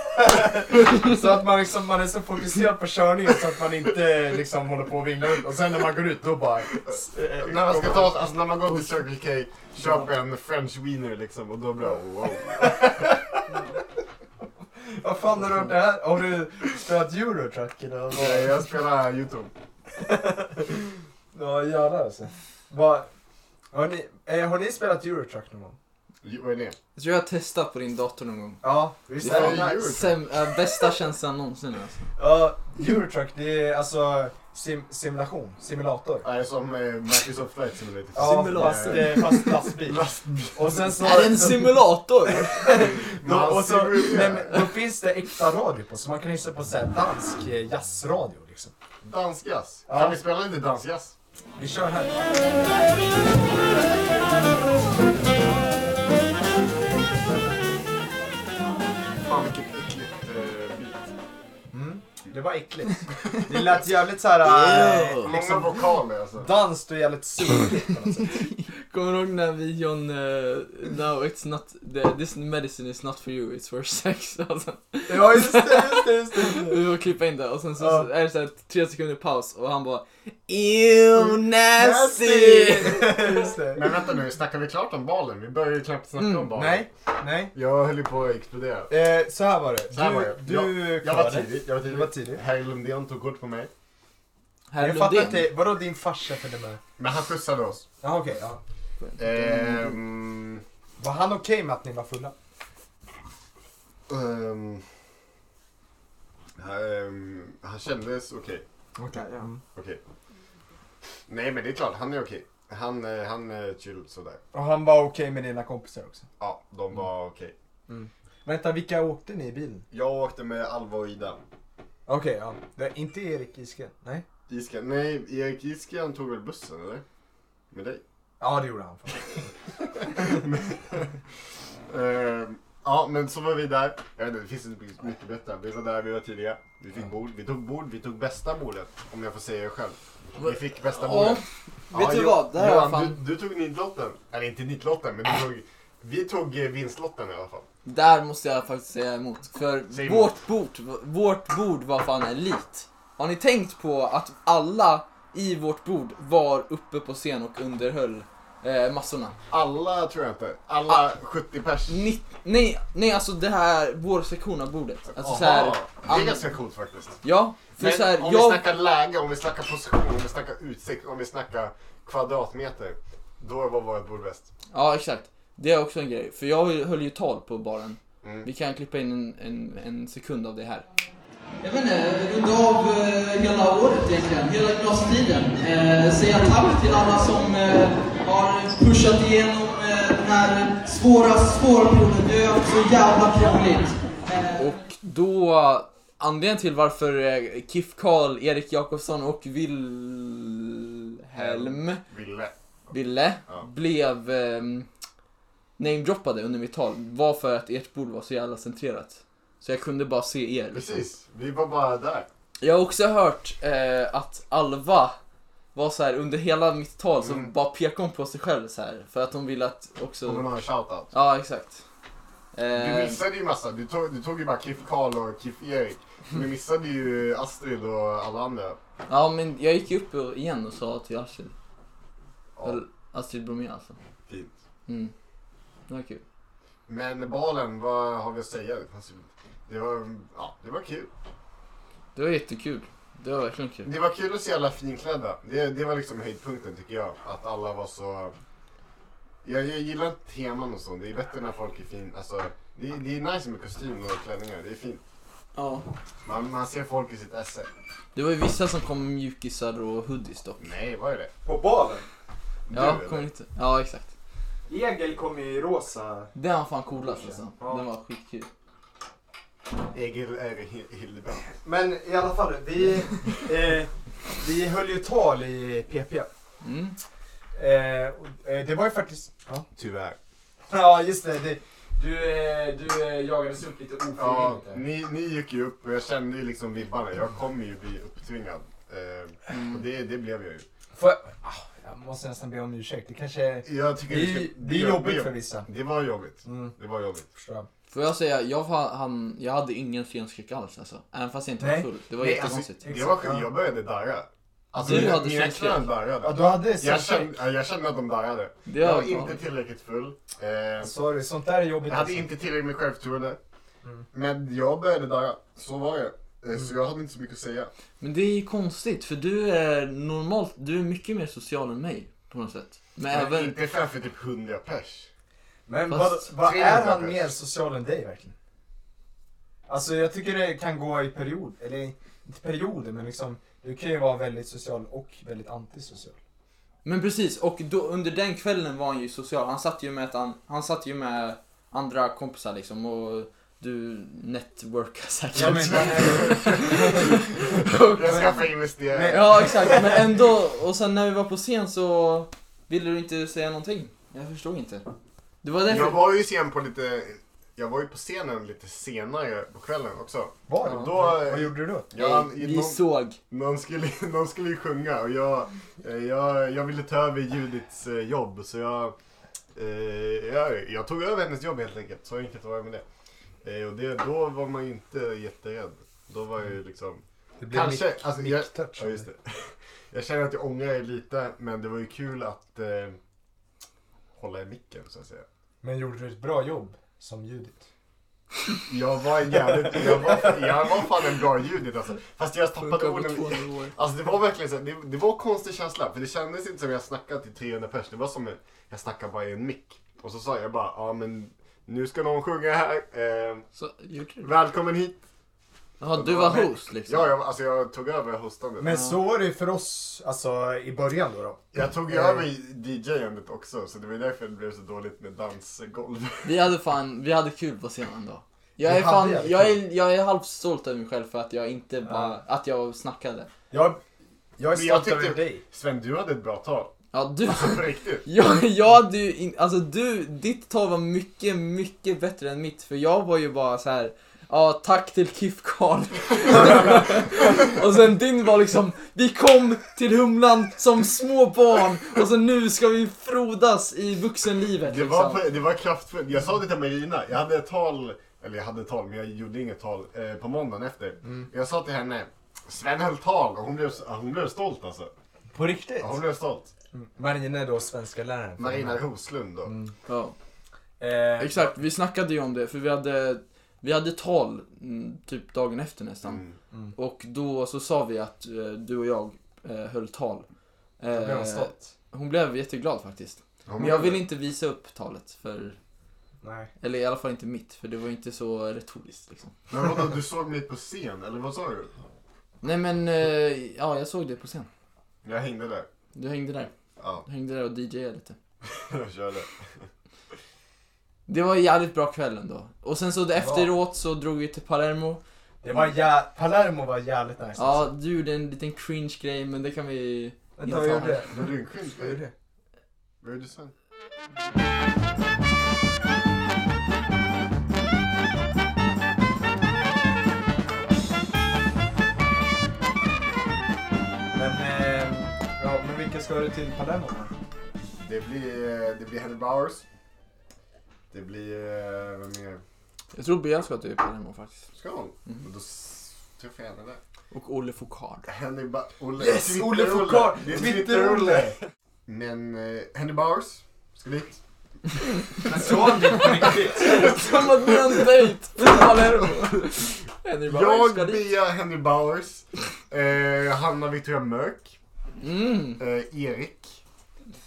A: så att man, liksom, man är så fokuserad på körningen så att man inte liksom, håller på och vinglar runt. Och sen när man går ut då bara...
B: När man ska ta oss, alltså när man går till Circle K, köp en french wiener liksom och då blir det wow.
A: Vad fan har du hört det här? Har du spelat Eurotruck eller? vad?
B: Eh, Jag spelar YouTube.
A: Ja jävlar alltså. Vad... Har ni, eh, har ni spelat Eurotruck någon gång?
B: Jo, Vad är det?
C: Jag tror jag har testat på din dator någon gång.
A: Ja,
C: Det
A: visst
B: Ja,
A: är
B: ju-
A: det
C: är
B: Eurotruck.
C: Sem, äh, bästa känslan någonsin alltså.
A: Ja, Eurotruck det är alltså sim, simulation, simulator.
B: Nej, som eh, Microsoft Flight Simulator.
A: Ja,
C: Simulator.
A: fast, eh, fast lastbil.
B: Lastbil.
A: Och sen så...
C: Är det en simulator?
A: Då,
B: Man
A: och så,
B: ser ut-
A: nej, men, då finns det äkta radio på, så man kan lyssna på så här dansk eh, jazzradio liksom.
B: Dansjazz.
A: Ja.
B: Kan vi spela lite dansjazz?
A: Vi kör här.
B: Fan vilket äckligt eh, beat.
A: Mm. Det var äckligt. Det lät jävligt så här... eh,
C: Ew.
B: Många vokaler alltså.
A: Dans och jävligt surt på något sätt.
C: Kommer du ihåg när vi John, eh, no it's not, the, this medicine is not for you, it's for sex. Alltså,
A: Ja just det, just det, just det.
C: vi får klippa in det och sen så,
A: Ja.
C: så är det så här, tre sekunder paus och han bara Ew
A: Mm.
C: nasty!
A: Nasty! Just det.
B: Men vänta nu, snackar vi klart om balen? Vi börjar ju knappt snacka om
C: Mm,
B: balen.
A: Nej, nej.
B: Jag höll ju på att explodera.
A: Eh, så här var det.
B: Så här var det.
A: Du, du
B: Jag var
A: klarade.
B: tidig. Jag var
A: Du
B: tidig.
A: var tidig.
B: Herr Lundén tog kort på mig.
C: Herr
A: jag fattar
C: Lundén.
A: inte, vadå din farsa följde med?
B: Men han skjutsade oss.
A: Ja okej, ja.
B: Ehm,
A: Var han okej med att ni var fulla?
B: ehm, ehm, han kändes okej.
A: Okej, ja.
B: Okej. Nej men det är klart, han är okej. Han, eh, han är chill sådär.
A: Och han var okej med dina kompisar också?
B: Ja, de var okej.
A: Vänta, vilka åkte ni i bilen?
B: Jag åkte med Alva och Ida.
A: Okej, ja. Det är inte Erik Isken? Nej?
B: Iskan, nej, Erik Iskan tog väl bussen eller? Med dig?
A: Ja, det gjorde han. fan.
B: Ehm, ja, men så var vi där. Jag vet inte, det finns inte mycket- mycket bättre. Vi var där, vi var tidiga. Vi fick bord. Vi tog bord, vi tog bästa bordet. Om jag får säga det själv. Vi fick bästa
C: Ja.
B: bordet.
C: Vet du
B: Jo-
C: vad? Det här
B: Johan,
C: var fan-
B: du, du tog nitlotten. Eller inte nitlotten, men du tog... Vi tog eh, vinstlotten i alla fall.
C: Där måste jag faktiskt säga emot. För
B: Säg emot.
C: vårt, Bord, vårt bord var fan elit. Har ni tänkt på att alla i vårt bord var uppe på scen och underhöll eh, massorna?
B: Alla tror jag inte. Alla 70 pers.
C: Ni, nej, nej, alltså det här, vår sektion av bordet. Alltså
B: Aha,
C: så här,
B: det
C: an-
B: är ganska coolt faktiskt.
C: ja, för
B: Men
C: så här,
B: om vi
C: jag,
B: snackar läge, om vi snackar position, om vi snackar utsikt, om vi snackar kvadratmeter. Då var vårt bord bäst.
C: ja exakt. Det är också en grej, för jag höll ju tal på baren.
B: Mm.
C: Vi kan klippa in en, en, en sekund av det här. Jag vet inte, runda av eh, hela året egentligen, hela gymnasietiden. Eh, säga tack till alla som eh, har pushat igenom eh, den här svåra, svåra perioden. Det är så jävla krångligt. Och då, anledningen till varför eh, Kif Karl, Erik Jakobsson och Wilhelm
B: Ville.
C: Ville
B: Ja.
C: blev eh, namedroppade under mitt tal var för att ert bord var så jävla centrerat. Så jag kunde bara se er. liksom.
B: Precis, vi var bara där.
C: Jag har också hört eh, att Alva var så här under hela mitt tal så
B: Mm.
C: bara pekade hon på sig själv så här för att hon ville att
B: Om man
C: också...
B: har en shoutout.
C: Ja, exakt.
B: Du
C: Eh,
B: missade ju massa. Du tog, du tog ju bara Kif Karl och Kif Erik. Du missade ju Astrid och alla andra.
C: ja, men jag gick upp och- igen och sa till Astrid.
B: Ja,
C: Eller Astrid Bromé alltså.
B: fint.
C: Mm. Det var kul.
B: Men balen, vad har vi att säga? Det fanns ju- Det var, ja, det var kul.
C: Det var jättekul. Det var verkligen kul.
B: Det var kul att se alla finklädda. Det, det var liksom höjdpunkten tycker jag. Att alla var så... Jag, jag gillar inte teman och så. Det är bättre när folk är fin. Alltså, det, det är nice med kostym och klänningar. Det är fint.
C: Ja.
B: Man, man ser folk i sitt esse.
C: Det var ju vissa som kom med mjukisar och hoodies dock.
B: Nej, vad är det?
A: På balen?
B: Du,
C: Ja,
B: eller?
C: kommer inte. Ja, exakt.
A: Egil kom i rosa.
C: Den var fan coolast alltså.
A: Ja.
C: Den var skitkul.
B: Egil är Hi- Hildebrandt.
A: Men i alla fall, vi, eh, vi höll ju tal i PP.
C: Mm.
A: Eh, och, eh, det var ju faktiskt... Ja,
B: Tyvärr.
A: ja just det. det du, eh, du eh, jagades upp lite ofrivilligt.
B: Ja,
A: där.
B: ni, ni gick ju upp och jag kände ju liksom Mm. vibbarna. Jag kommer ju bli upptvingad. Eh, och det, det blev jag ju.
A: Får jag... ah, Jag måste nästan be om ursäkt. Det kanske...
B: Jag tycker
A: Det
B: vi
A: är,
B: ska-
A: det är jobbigt för vissa.
B: Det var jobbigt.
A: Mm,
B: Det var jobbigt.
A: förstår jag.
C: Får jag säga, jag, var, han, jag hade ingen scenskräck alls alltså. Även fast jag inte
A: Nej.
C: var full. Det var
B: Nej, alltså,
C: jättekonstigt.
B: Det var skönt. Jag började darra. Alltså,
C: Du
B: mina-
C: hade
B: mina
C: känslan.
B: knän darrade.
A: Ja, du hade
B: Jag
A: scenskräck.
B: kände, ja, jag kände att de darrade.
C: det
B: Jag var
C: fan-
B: inte tillräckligt full. Eh,
A: Sorry, sånt där är jobbigt.
B: jag hade
A: alltså.
B: inte tillräckligt med självförtroende.
A: Mm.
B: Men jag började darra. Så var det. Eh, Så jag hade inte så mycket att säga.
C: Men det är ju konstigt för du är normalt, du är mycket mer social än mig på något sätt. Men
B: Men
C: även,
B: inte framför typ 100 pers.
A: Men
C: Fast-
A: vad, vad är han
B: 300
A: mer social än dig verkligen? Alltså jag tycker det kan gå i period, eller inte perioder men liksom du kan ju vara väldigt social och väldigt antisocial.
C: men precis och då, under den kvällen var han ju social. Han satt ju med, ett an, han satt ju med andra kompisar liksom och du networkar säkert.
A: Ja, men,
B: Jag skaffade investerare.
C: ja exakt, men ändå. Och sen när vi var på scen så ville du inte säga någonting. Jag förstod inte. Det var därför.
B: Jag var ju sen på lite... Jag var ju på scenen lite senare på kvällen också.
A: var
C: Ja,
A: det?
B: då-
A: vad gjorde du då?
B: Jag,
C: Nej, vi
B: någon,
C: såg.
B: någon, skulle, någon skulle ju sjunga och jag, eh, jag, jag ville ta över Judiths eh, jobb så jag, eh, jag, jag tog över hennes jobb helt enkelt. Så enkelt var det med det. Eh, och det, då var man ju inte jätterädd. Då var jag ju liksom...
A: Det
B: Kanske, alltså, jag-
A: touch.
B: Ja, just det. Jag känner att jag ångrar er lite, men det var ju kul att eh, hålla i micken så att säga.
A: Men gjorde du ett bra jobb som Judith?
B: Jag var en jävligt, jag var, jag var fan en bra Judith alltså. Fast jag tappade
C: Funkar på
B: orden.
C: 200 år.
B: Alltså det var verkligen så, här, det, det var en konstig känsla. För det kändes inte som jag snackade till 300 pers. Det var som att jag snackade bara i en mick. Och så sa jag bara, ja men nu ska någon sjunga här. Eh,
C: Så, gjorde du det?
B: välkommen hit.
C: Jaha, du var host liksom?
B: Ja, jag, alltså jag tog över hostandet.
A: Men så var det ju för oss, alltså i början då. då.
B: Jag tog ju över DJ-andet också. Så det var därför det blev så dåligt med dansgolv.
C: Vi hade fan, vi hade kul på scenen då. Jag
A: Vi hade
C: är fan,
A: jävligt
C: jag är, jag är halvt stolt över mig själv för att jag inte bara, att jag snackade.
A: Jag, jag är
B: Men jag
A: stolt över
B: tyckte-
A: dig.
B: Sven, du hade ett bra tal.
C: Ja du,
B: Alltså på riktigt.
C: jag, jag hade ju in, alltså du, ditt tal var mycket, mycket bättre än mitt för jag var ju bara så här. Ja, tack till KIF Karl. och sen din var liksom, vi kom till Humlan som små barn och så nu ska vi frodas i vuxenlivet
B: Det var,
C: liksom.
B: på- det var kraftfullt. Jag sa det till Marina. Jag hade ett tal, eller jag hade ett tal, men jag gjorde inget tal eh, på måndagen efter.
C: Mm.
B: Jag sa till henne, Sven höll tal och hon blev, ja, hon blev stolt alltså.
A: På riktigt?
B: Ja, Hon blev stolt.
A: Marina då, svenska läraren.
B: Marina Roslund då.
C: Ja.
A: Eh,
C: Exakt, vi snackade ju om det för vi hade, vi hade tal mm, typ dagen efter nästan.
B: Mm.
C: Och då så sa vi att eh, du och jag eh, höll tal. Eh,
A: blev hon stolt?
C: hon blev jätteglad faktiskt.
B: Hon
C: Men jag
B: blev-
C: vill inte visa upp talet, för,
A: Nej.
C: eller i alla fall inte mitt, för det var inte så retoriskt liksom.
B: Men vadå, du såg mig på scen, eller vad sa du?
C: Nej men, eh, ja jag såg det på scen.
B: Jag hängde där.
C: Du hängde där,
B: Ja,
C: du hängde där och DJade lite.
B: jag körde.
C: Det var en jävligt bra kväll ändå. Och sen så efteråt så drog vi till Palermo.
A: Det var jä... Palermo var jävligt nice.
C: Ja, du gjorde en liten cringe grej men det kan vi...
A: Vänta, vad gjorde jag?
B: Var du en skylt?
A: Vad gjorde jag?
B: Vad gjorde Sven?
A: Men, eh, ja, men vilka ska du till Palermo med?
B: Det blir, eh, det blir Henry Bowers. Det blir, eh, vem mer?
C: Jag tror Bea ska till Palermo faktiskt.
B: Ska hon?
C: Mm.
B: Och då s- träffar jag henne där.
C: Och Olle Fokard.
B: Henry ba- Olle.
A: Yes, Olle
B: Twitter-Olle.
A: Fokard!
B: Det är
A: Twitter-Olle!
B: Twitter-Olle! Men eh, Henry Bowers ska dit.
A: Men såg ni på riktigt?
C: Som att vi har en dejt på Palermo. Henry bara, "Var
B: Jag,
C: ska dit?"
B: Bea, Henry Bowers. Eh, Hanna Victoria Mörk.
C: Mm.
B: Eh, Erik.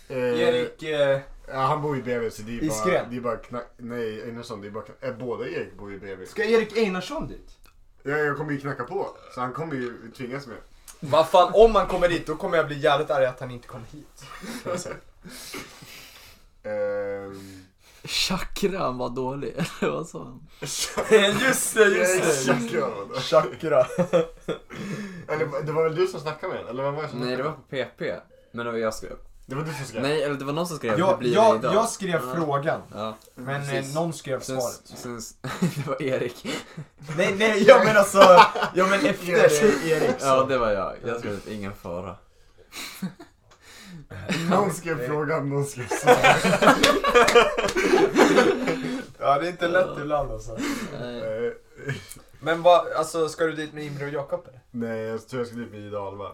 B: Eh,
A: Erik, eh,
B: Ja, han bor i BB så det är bara,
A: Iskren.
B: det är bara knack, Nej, Einarsson. Det är bara knack, eh, båda Erik bor i BB.
A: ska Erik Einarsson dit?
B: Jag, jag kommer ju knacka på. Så han kommer ju tvingas med.
A: Vad fan, om han kommer dit då kommer jag bli jävligt arg att han inte kom hit.
B: Ehm,
C: Chakran var dålig, eller vad sa han?
A: just det, just det!
B: Chakra, vadå?
A: Chakra.
B: Eller det var väl du som snackade med henne? Eller vem var det som
E: typ- Nej, det
B: snackade?
E: var på PP. Men det var jag skrev.
B: Det var du som skrev?
E: Nej, eller det var någon som skrev hur
A: Jag,
E: blir det
A: jag,
E: idag?
A: jag skrev frågan,
E: Ja.
A: men eh,
C: Precis.
A: någon skrev
E: Sen,
A: svaret.
E: sen, det var Erik.
A: Nej, nej, jag menar alltså, jag men efter eh, Erik så.
E: Ja, det var jag. Jag skrev typ ingen fara.
B: Någon skrev frågan, någon skrev svaret.
A: Ja, det är inte lätt ibland alltså.
C: Eh,
B: Eh,
A: Men vad, alltså ska du dit med Imre och Jakob eller?
B: Nej, jag tror jag skulle bli Ida Alva.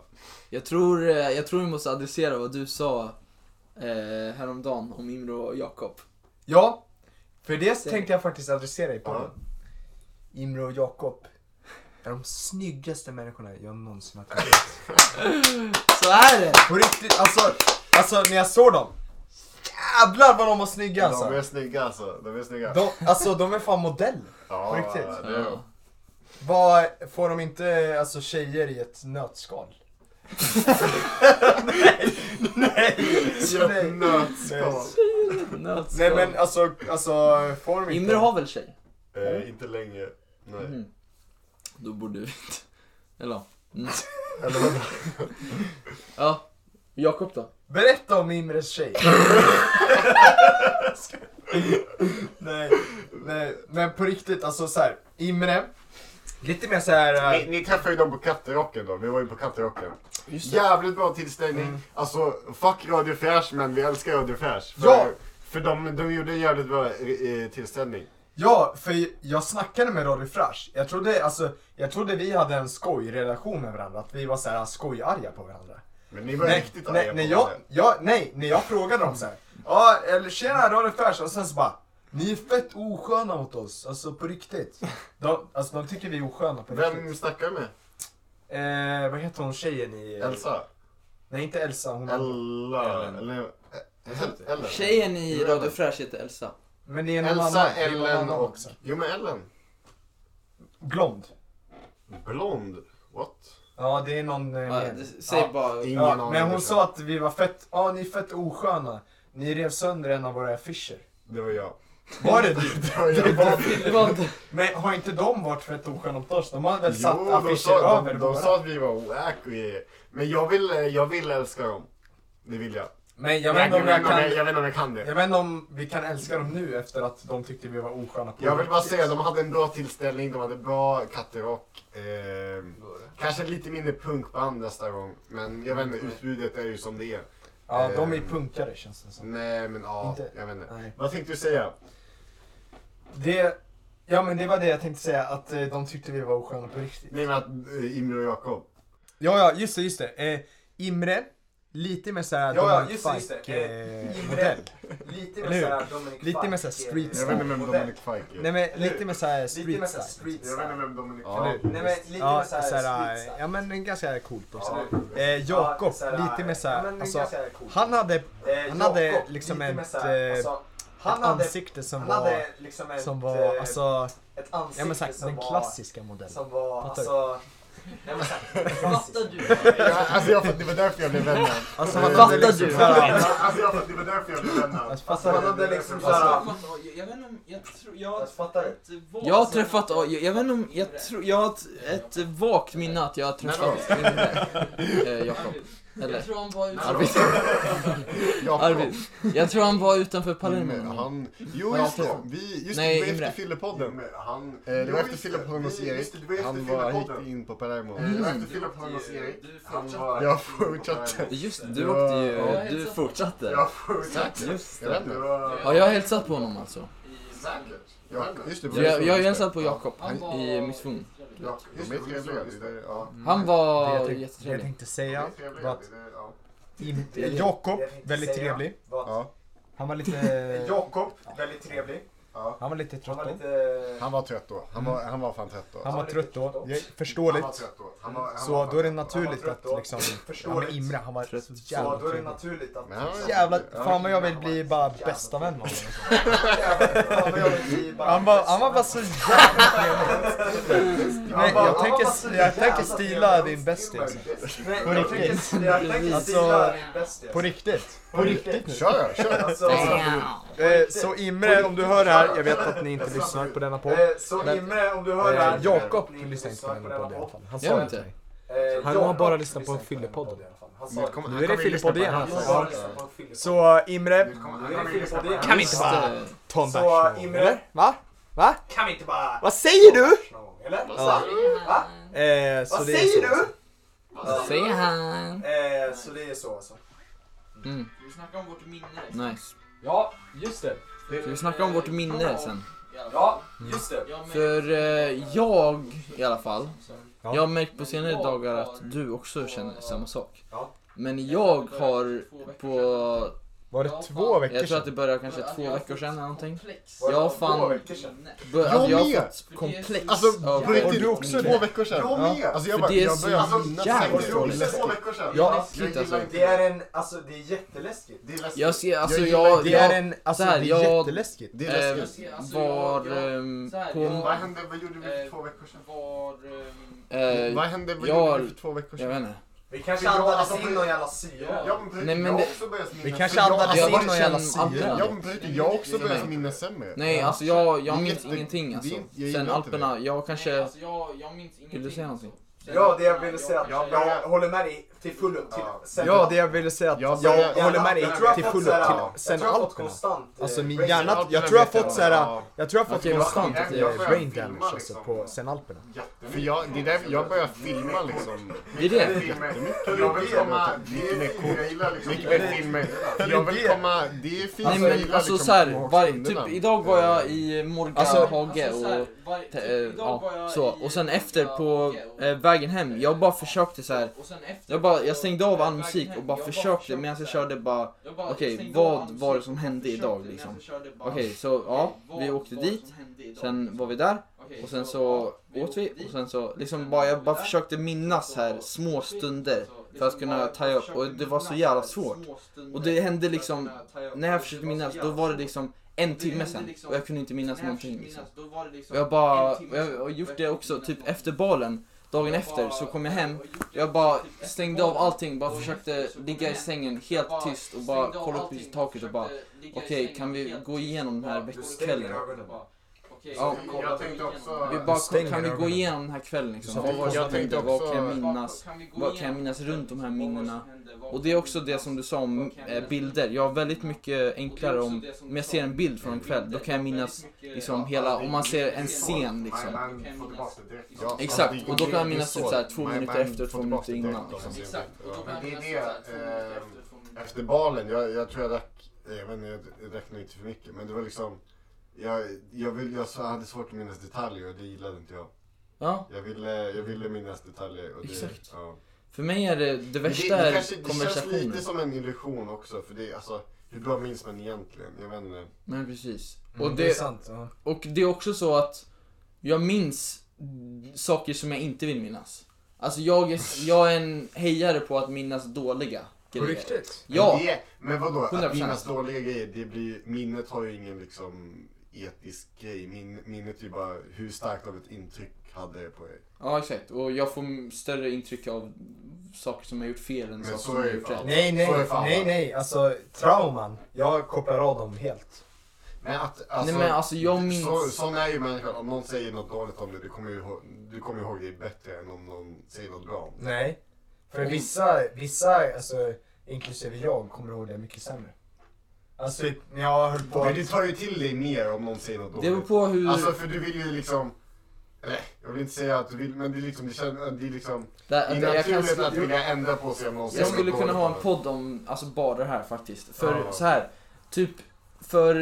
C: Jag tror, eh, jag tror vi måste adressera vad du sa eh, häromdagen om Imre och Jakob.
A: Ja, för det tänkte jag faktiskt adressera i podden. Imre och Jakob är de snyggaste människorna jag någonsin har träffat.
C: Så är det!
A: På riktigt, alltså, alltså när jag såg dem. Jävlar vad de var snygga
B: De
A: alltså.
B: är snygga alltså. De är snygga.
A: De, alltså de är fan modell.
B: Ja,
A: på riktigt.
B: det är de.
C: Ja.
A: Vad får de inte alltså tjejer i ett nötskal? nej,
B: Ja,
A: nej, nej.
B: Nötskal.
A: Nej men alltså, alltså får de inte...
C: Imre har väl tjej?
B: Eh, inte längre. Nej.
C: Mm. Då borde vi inte... Eller ja. mm.
B: Eller vadå?
C: ja. Jakob då?
A: Berätta om Imres tjej. nej, nej, men på riktigt alltså så här, Imre, lite mer så här.
B: Ni,
A: eh,
B: ni träffade ju dem på Katterocken då. Vi var ju på Katterocken.
C: Just
B: Jävligt bra tillställning.
A: Mm.
B: Alltså, fuck Radio Fräsch men vi älskar Radio Fräsch. För,
A: Ja!
B: För de, de gjorde en jävligt bra eh, tillställning.
A: Ja, för jag snackade med Roddy Frash. Jag trodde, alltså, jag trodde vi hade en skojrelation med varandra, att vi var så här skojarga på varandra.
B: Men ni var riktigt arga
A: nej,
B: på
A: när jag,
B: varandra.
A: jag, nej, när jag frågade dem så här. Ja, eller tjena Roddy Frash och sen så bara. Ni är fett osköna mot oss, alltså på riktigt. De, alltså de tycker vi är osköna på
B: Vem
A: riktigt.
B: snackar du med?
A: Eh, vad heter hon tjejen i...
B: Elsa?
A: Nej inte Elsa, hon
B: Ella?
E: Ellen.
B: Eller? eh, Ellen?
C: Tjejen i Radio Fräsch heter Elsa.
A: Men det är någon annan.
B: Elsa,
A: det är någon
B: Ellen
A: annan
B: och... Jo men Ellen.
A: Blond.
B: Blond? What?
A: Ja det är någon... Eh,
C: Ja,
A: mer.
C: det- säg
A: Ja.
C: bara...
B: Ingen
A: Ja,
B: aning. liksom.
A: men hon sa att vi var fett, ja ni är fett osköna. Ni rev sönder en av våra affischer.
B: Det var jag.
A: Var det du?
B: Det var jag.
C: Det var inte...
A: Men har inte de varit fett osköna mot oss? De har väl satt
B: Jo, de
A: affischer
B: sa,
A: över
B: de, de
A: våra?
B: sa att vi var wack och grejer. Men jag vill, jag vill älska dem. Det vill jag.
A: Men jag vet inte om jag
B: jag,
A: kan...
B: jag vet inte om jag kan det.
A: Jag vet inte om vi kan älska dem nu efter att de tyckte vi var osköna på
B: Jag vill bara
A: riktigt.
B: säga, de hade en bra tillställning, de hade bra katterock. Eh, kanske lite mindre punkband nästa gång. Men jag vet inte, utbudet är ju som det är.
A: Ja, de är
B: Ehm.
A: punkare känns det som.
B: Nej men ja,
A: Inte-
B: jag vet inte.
A: Nej.
B: Vad tänkte du säga?
A: Det... Ja men det var det jag tänkte säga, att eh, de tyckte vi var osköna på riktigt.
B: Nej men att eh, Imre och Jakob.
A: Ja, ja, just det, just det. Eh, Imre, lite mer såhär
G: Ja, ja,
A: Dominic
G: just det, just
A: Fike,
G: det. Eh,
A: eh,
G: Imre.
A: modell.
G: Lite
A: Eller hur?
G: med såhär Dominic
A: Lite med
G: Fike,
A: så här
G: eh,
A: street
B: Jag vet inte vem Dominic Fike är.
A: Nej men lite mer såhär
G: Lite
A: street
G: med såhär
A: style.
G: street
B: Jag vet inte
G: style.
B: vem Dominic
E: Ja.
B: Fike är.
G: Nej men lite
A: Ja,
G: med såhär
A: såhär,
G: street
A: eh,
G: style.
A: ja men en ganska coolt också.
G: Ja.
A: Eh, Jakob,
G: såhär,
A: lite mer
G: ja,
A: såhär,
G: men det är
A: alltså,
G: ganska coolt.
A: han hade
G: Eh,
A: han hade
G: Jakob,
A: liksom
G: lite med
A: ett,
G: såhär,
A: eh,
G: alltså,
A: ett
G: han hade-
A: ansikte som
G: han
A: var,
G: hade liksom ett,
A: som
G: eh,
A: var, alltså,
G: ett
A: ja men
G: ansikte
A: såhär
G: som
A: den
G: var,
A: klassiska modellen.
G: som var,
A: Fattar du?
G: alltså, nej men såhär,
C: Fattar du?
B: Ja, Alltså jag, det var därför jag blev vän med honom.
A: Alltså
B: Eh,
A: han
C: fattar
A: hade liksom
C: du?
A: såhär,
B: Alltså jag, det var därför jag blev vän med honom.
A: alltså,
G: alltså han
A: fattar du?
G: hade liksom såhär,
C: Alltså, jag- jag vet inte om... Jag tror... Jag...
G: alltså, fattar du?
C: Jag har träffat... Jag, jag vet inte om... Jag tror... Jag har ett, ett vagt minne att jag har träffat Imre. Eh, Jakob. Eller...
H: tror han var ute.
B: Arvid. Jakob.
C: Arvid. Jag tror han var utanför Palermo.
B: Imre, han... Jo
C: Ja,
B: just det,
C: förlåt.
B: vi, just
C: Nej,
B: det, det var
C: Imre.
B: efter Fyllepodden. Han, eh, det var efter Fyllepodden hos Erik. Han var, gick in på Palermo.
D: Mm.
B: Det var efter Fyllepodden hos Erik. Han var... Jag fortsatte.
E: Just det, du
B: Ja.
E: åkte ju...
C: Ja,
E: Du fortsatte.
B: Jag fortsatte.
E: Just
B: Jag vet
E: det.
B: inte. vad-
C: Ja, jag har hälsat på honom alltså.
B: Ja, just det.
C: Så jag, jag har ju hälsat på
B: Ja,
C: Jakob
H: Han
C: i
H: var- Mm.
C: mitt fun.
B: Ja, just det. De är trevliga. det är- Ja.
C: Han
A: Det
C: var
A: jag tänkte, det jag
C: jättetrevlig.
A: tänkte
B: De är
A: säga
B: trevliga,
A: var att
B: det är- ja.
A: Im-
G: Det jag
A: Jakob,
G: tänkte
A: väldigt
G: säga.
A: trevlig.
G: Vad?
B: Ja,
A: Han var lite,
G: Jakob, väldigt trevlig.
B: ja.
A: han var lite
G: Han
A: trött
G: var
A: då.
G: lite...
B: Han var trött då. Han var, han var fan trött då.
A: Han var trött då, Det är förståeligt.
B: Han var- han var
A: Så
B: fan
A: då är det
B: trött
A: naturligt
G: trött
A: att
G: då.
A: liksom, ja men
G: Förståeligt.
A: Imre han var
E: Trött.
A: så
G: Så
A: jävla
G: då är det
A: trevlig.
G: naturligt att...
B: Men han var-
A: Jävla,
B: Ja.
A: fan vad jag vill bli bara bästa vän med honom.
G: Jävlar, jag vill bara-
A: Han var, han var bara så jävla trevlig. Nej, jag tänker, jag tänker stila din bästis. alltså.
G: Nej,
A: På
G: jag
A: riktigt.
G: tänker- Jag tänker
A: Alltså,
G: stila din bästis.
A: På riktigt.
G: På riktigt nu.
B: Kör, kör.
G: Alltså,
A: Eh, så Imre, om du hör det här, jag vet att ni inte lyssnar på denna podd.
G: eh, så Imre, om du hör det här.
A: Eh, Jakob
G: Ni
A: lyssnar inte på denna podd i alla fall. Han
C: Gör
A: sa
C: han
A: inte
C: inte?
A: mig.
G: Eh,
A: Han
G: Jakob
A: har bara lyssnat på
G: lyssnar
A: en
G: inte den här
A: fyllepodd.
G: podden i alla fall. Han sa
B: Nu
G: det.
B: kommer-
A: Nu
B: han
A: är det
B: kommer
A: Filippodd
B: lyssna på
A: igen. alltså.
B: den här
G: Han
B: sen.
G: har lyssnat på en fyllepodd.
A: Så Imre,
B: Nu kommer- han
G: Nu är
B: kommer
G: det
B: lyssna på
G: Filippodd igen.
A: Kan vi inte
C: Just
A: bara-
C: det.
A: ta en
G: Så,
A: bärs någon gång,
G: Imre?
A: eller? Va? Va?
G: Kan vi inte bara...
A: Vad säger du?
G: Någon gång, Eller?
B: Ja.
A: Ja. Eh, så
G: Vad
A: det är
G: säger
A: så.
G: du?
C: Säger han.
G: Eh, så det är så alltså.
C: Mm.
E: Ska vi snacka om vårt minne?
C: eh, Nice.
I: Ja, just det.
C: Ska vi snacka om vårt minne sen?
E: I alla fall.
I: Ja, just det.
E: Jag med-
C: För eh, jag i alla fall,
A: Ja.
C: jag har märkt på senare dagar att du också känner samma sak.
B: Ja.
C: Men jag har på,
A: Var det två veckor
C: jag tror att det
A: sedan?
C: började kanske två veckor sedan eller någonting.
E: Komplex.
C: Jag har fan,
E: Veckor sedan.
C: bör, alltså, jag har
B: med.
C: fått komplex
B: Alltså,
C: av
B: på riktigt,
A: Har du också
B: två
A: det?
B: veckor sedan.
A: Jag med.
B: Alltså jag
C: För
B: bara,
C: det är
B: jag
C: så
B: börjar minnas
C: jävla
B: säkert.
C: dåligt.
B: Det är två veckor sedan.
C: Ja,
B: Jag
C: shit,
B: gillar
C: alltså.
B: inte-
A: Det är en, alltså det är jätteläskigt.
B: Det är läskigt.
C: Jag ser, alltså
B: Jag gillar
C: jag,
B: inte-
A: Det är
C: jag
A: en, alltså
C: så här,
A: det är
C: jag-
A: jätteläskigt.
B: Det är
C: eh,
B: läskigt.
C: var ehm,
E: så här,
C: på,
B: Vad hände, vad gjorde vi för
E: Eh,
B: två veckor sedan?
E: Var... ehm,
C: eh,
B: Vad hände, vad
C: jag-
B: gjorde vi för två veckor
C: jag
B: sedan?
C: vet inte.
A: Vi kanske
B: andades in någon
A: jävla
B: Ja, men
C: Nej,
B: Brute,
C: men
B: jag har
C: det-
B: också börjat minnas.
A: Vi kanske
B: Jag-
A: andades
C: alltså, jag
A: in
C: bara
A: någon jävla
C: känner aldrig
A: syra.
C: att-
B: Ja, men Brute, jag också
C: Nej.
B: börjar minnas sämre.
C: Nej, alltså jag, jag
B: Det är
C: minns
B: jätte-
C: ingenting alltså.
B: det är- jag gillar
C: Sen
B: inte
C: Alperna, jag
E: Nej,
C: kanske...
E: alltså, jag, jag minns ingenting.
C: Vill du säga någonting?
E: alltså. Sen-
G: Ja, det jag ville säga.
E: Jag,
G: Jag,
E: jag,
G: jag håller med dig till fullo. Till,
B: Ja.
G: sen-
A: Ja, det jag ville säga att
B: Jag
A: jag,
B: börjar-
A: håller med dig
G: Jag tror jag
A: till
G: fått
A: fullo
G: så här-
A: till sen
G: jag tror jag har fått
A: Alperna.
G: konstant... eh,
A: Alltså min
G: brain-
A: hjärna,
B: Alperna
A: jag tror jag
B: vet jag
A: har fått såhär,
B: inte.
A: jag tror jag har fått
C: Okej, vad
A: konstant
B: skönt att
A: eh,
B: jag får
A: brain
B: filma,
A: damage alltså
B: liksom.
A: på sen Alperna.
B: För jag, det är därför jag börjar filma liksom.
C: Det är det.
B: Jag vill komma, det är mycket jag gillar liksom. Mycket mer filmer. Jag vill komma, det är fint
C: Nej
B: jag
C: men
B: gillar
C: alltså
B: liksom
C: såhär,
B: att komma ihåg
C: var,
B: stunderna.
C: typ idag var jag i Morgan
A: Alltså-
C: Hage
E: så här,
C: och...
E: var- typ
C: te- eh,
E: idag var
C: Ja,
E: jag
C: så.
E: i-
C: Och sen efter på
E: Okej, och-
C: eh, vägen hem, jag bara försökte så här.
E: och sen efter-
C: Jag, bara, jag stängde av all
E: vägen
C: musik
E: hem,
C: och bara
E: jag
C: försökte medan jag
E: så här-
C: körde bara,
E: jag bara
C: okej,
E: stängde av all
C: vad var det
E: musik
C: som
E: och
C: hände
E: försökte
C: idag
E: medan
C: liksom?
E: jag körde bara,
C: Okej, så ja,
E: vad
C: vi åkte
E: var det som
C: dit,
E: hände idag?
C: sen var vi där
E: Okej,
C: och sen så
E: ja,
C: åt
E: åkte
C: vi
E: dit.
C: och sen så liksom
E: sen
C: bara,
E: var
C: jag
E: vi
C: bara
E: där.
C: försökte minnas här små stunder för att kunna taja upp och det var så jävla svårt. Och det hände liksom, när jag försökte minnas då var det liksom en timme sen
E: liksom
C: och jag kunde inte minnas någonting liksom. Och jag bara, och jag har gjort det också typ efter balen, dagen efter så kom jag hem jag bara stängde av allting, bara försökte ligga i sängen helt tyst och bara kolla upp i taket och bara okej, kan vi gå igenom den här veckokvällen? Ja.
B: Jag tänkte också-
C: Vi
A: Du
C: bara,
A: stänger
C: kan vi gå
A: ögonen.
C: igenom den här kvällen liksom?
A: Jag
C: Vad var det som
B: tänkte
C: hände? Vad
B: också-
C: kan jag minnas? Vad kan jag minnas runt de här minnena? Och det är också det som du sa om eh, bilder. Jag har väldigt mycket enklare om, om jag ser en bild från en kväll, då kan jag minnas liksom hela, om man ser en scen liksom.
B: Man- man får tillbaka det direkt.
E: Ja,
C: Exakt,
B: alltså, det-
C: och då kan
B: det-
C: man
B: det är
C: minnas typ
B: så.
C: så här två
B: Man-
C: minuter
B: man
C: efter,
B: får
C: två minuter
B: tillbaka det
C: innan.
B: direkt,
C: Liksom.
B: alltså.
E: Exakt, och då
B: Ja.
E: kan
B: Men det
E: jag
B: är
E: minnas
B: det,
E: så här två
B: ehm,
E: minuter efter från min-
B: Efter balen, jag, jag tror jag drack, eh, jag vet inte, jag, jag drack nog inte för mycket. Men det var liksom, jag, jag, vill, jag så- hade svårt att minnas detaljer och det gillade inte jag.
C: Ja,
B: Jag ville, jag ville minnas detaljer. Och det,
C: Exakt.
B: Ja.
C: för mig är det, det
B: Men
C: värsta är
B: kanske- Det känns
C: konversationer.
B: lite som en illusion också. För det är alltså, hur bra minns man egentligen? Jag vet inte.
C: Men precis.
A: Mm,
C: och,
A: det är
C: det,
A: sant. ja.
C: och det är också så att jag minns saker som jag inte vill minnas. Alltså jag är, jag är en hejare på att minnas dåliga grejer. Ja,
B: Men, det, men vadå, att
C: 100%.
B: minnas dåliga grejer, det blir, minnet har ju ingen liksom etisk grej. Min, minnet är ju bara hur starkt av ett intryck hade det på er.
C: ja exakt. Och jag får större intryck av saker som jag gjort fel än
B: Men
C: saker
B: så
C: som
B: är
C: jag
B: det
C: gjort
B: ju
C: rätt.
A: Nej,
B: Så
A: nej,
B: är det fan,
A: nej,
B: va?
A: nej. Alltså trauman. Jag kopplar av dem helt.
B: Men att, alltså,
C: Nej men alltså jag minns...
B: så, sån är ju människan. Om någon säger något dåligt om dig, du kommer ju ihåg, du kommer ihåg det bättre än om någon säger något bra om dig.
A: Nej. För vissa, vissa, alltså inklusive jag, kommer ihåg det mycket sämre. Alltså typ när jag höll på
B: Men du tar ju till dig mer om någon säger något
C: Det
B: dåligt.
C: beror på hur...
B: Alltså för du vill ju liksom, eller jag vill inte säga att du vill, men det är liksom, det, känns, det är liksom,
C: där,
B: det är
C: där jag kan
B: naturligt att vilja ändra på sig om någon säger
C: Jag
B: något
C: skulle kunna
B: dåligt
C: ha
B: om
C: en podd om alltså bara det här faktiskt. För
B: Ja.
C: så här, typ för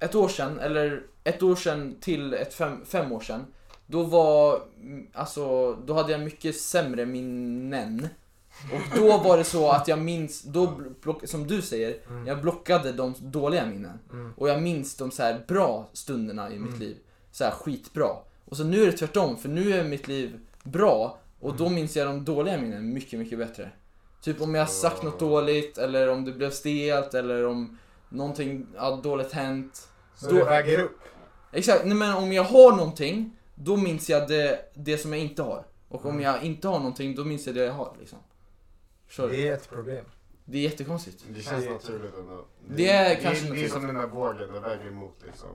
C: ett år sedan, eller ett år sedan till ett fem, fem år sedan. Då var, mm, alltså, då hade jag mycket sämre minnen. Och då var det så att jag minns, då, bl- block, som du säger,
A: Mm.
C: jag blockade de dåliga minnen.
A: Mm.
C: Och jag minns de så här bra stunderna i mitt liv. Så här skitbra. Och så nu är det tvärtom, för nu är mitt liv bra och
A: Mm.
C: då minns jag de dåliga minnen mycket, mycket bättre. Typ om jag sagt något dåligt eller om det blev stelt eller om någonting ja, dåligt hänt.
A: Så det väger upp.
C: Exakt, nej men om jag har någonting då minns jag det, det som jag inte har. Och
A: Mm.
C: om jag inte har någonting då minns jag det jag har liksom. Förstår du?
A: Det är ett problem.
C: Det är jättekonstigt.
B: Det känns naturligt ändå.
C: Det är kanske
B: det, det är
C: naturligt.
B: som den där vågen, den väger emot liksom.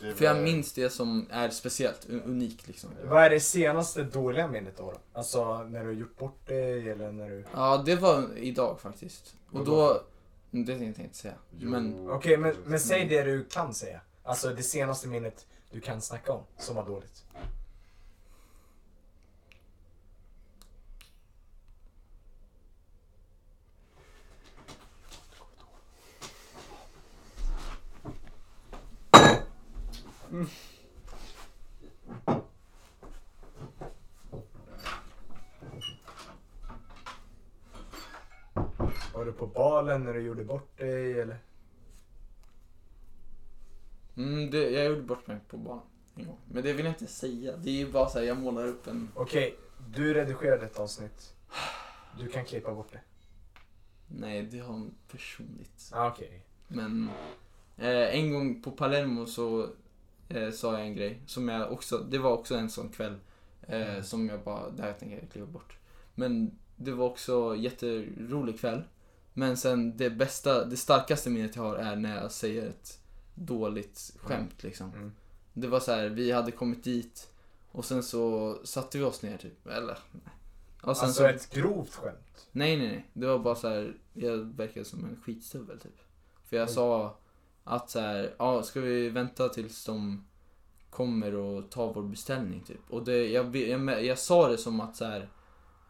B: Det är
C: För jag
B: bara-
C: minns det som är speciellt, u- unikt liksom.
A: Vad är det senaste dåliga minnet då? då? Alltså när du har gjort bort dig eller när du...
C: Ja, det var idag faktiskt. Och då... mm, Det tänkte jag inte säga.
B: Jo.
C: Men...
A: Okej, men, men säg det du kan säga. Alltså det senaste minnet du kan snacka om som var dåligt. Var du på balen när du gjorde bort dig eller?
C: Mm, det, jag gjorde bort mig på banan en gång. Men det vill jag inte säga. Det är ju bara så här, jag målar upp en...
A: Okej, du redigerade ett avsnitt. Du kan klippa bort det.
C: Nej, det har en personligt.
A: Ah, Okej.
C: Men eh, en gång på Palermo så eh, sa jag en grej som jag också, det var också en sån kväll eh,
A: Mm.
C: som jag bara, det här tänker jag kliva bort. Men det var också jätterolig kväll. Men sen det bästa, det starkaste minnet jag har är när jag säger ett dåligt skämt liksom.
A: Mm.
C: Det var så här, vi hade kommit dit och sen så satte vi oss ner typ, eller? Och sen
A: Alltså
C: så,
A: ett grovt skämt.
C: Nej, nej, nej. Det var bara så här, jag verkade som en skitstövel typ. För jag sa att så här, ja, ska vi vänta tills de kommer och tar vår beställning typ. Och det, jag, jag, jag, jag sa det som att så här,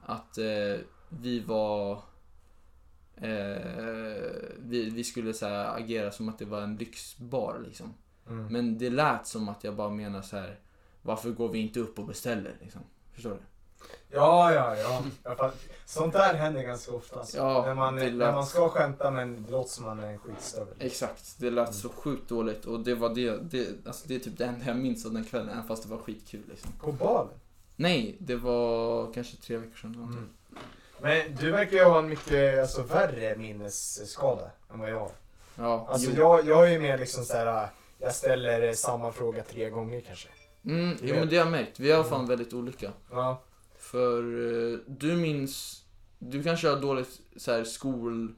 C: att eh, vi var eh, vi, vi skulle så här, agera som att det var en lyxbar liksom.
A: Mm.
C: Men det lät som att jag bara menar så här, varför går vi inte upp och beställer liksom? Förstår du?
A: Ja, ja, ja. Jag fatt- Sånt där händer ganska ofta. Alltså.
C: Ja,
A: när, man,
C: det
A: när
C: lät-
A: man ska skämta men det låter som man är en skitstövel.
C: Exakt, det
A: Mm.
C: lät så sjukt dåligt och det var det, det, alltså det är typ det enda jag minns av den kvällen, även fast det var skitkul liksom.
A: På balen?
C: Nej, det var kanske tre veckor sedan. eller
A: Mm.
C: någonting.
A: Men du verkar ju ha en mycket alltså, värre minnesskada än vad jag har.
C: Ja,
A: Alltså
C: jo.
A: jag, jag är ju mer liksom så här. jag ställer samma fråga tre gånger kanske.
C: Mm, jo men det har jag märkt, vi har
A: Mm.
C: fan väldigt olika.
A: Ja.
C: För eh, du minns, du kanske har dåligt så här, skol,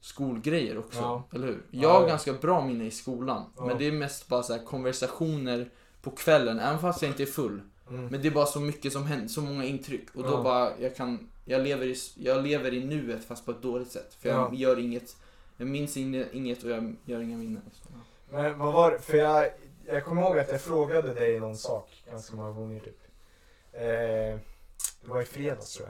C: skolgrejer också,
A: Ja.
C: eller hur?
A: Ja,
C: Jag har
A: ja.
C: ganska bra minne i skolan,
A: Ja.
C: men det är mest bara så här, konversationer på kvällen, även fast jag inte är full.
A: Mm.
C: Men det är bara så mycket som händer, så många intryck. Och då
A: Ja.
C: bara, jag kan, jag lever, i, jag lever i nuet fast på ett dåligt sätt. För jag
A: Ja.
C: gör inget, jag minns inge- inget och jag gör inga minnen. Så, ja.
A: Men vad var det? För jag, jag kommer ihåg att jag frågade dig någon sak ganska många gånger typ. Eh, det var i fredags tror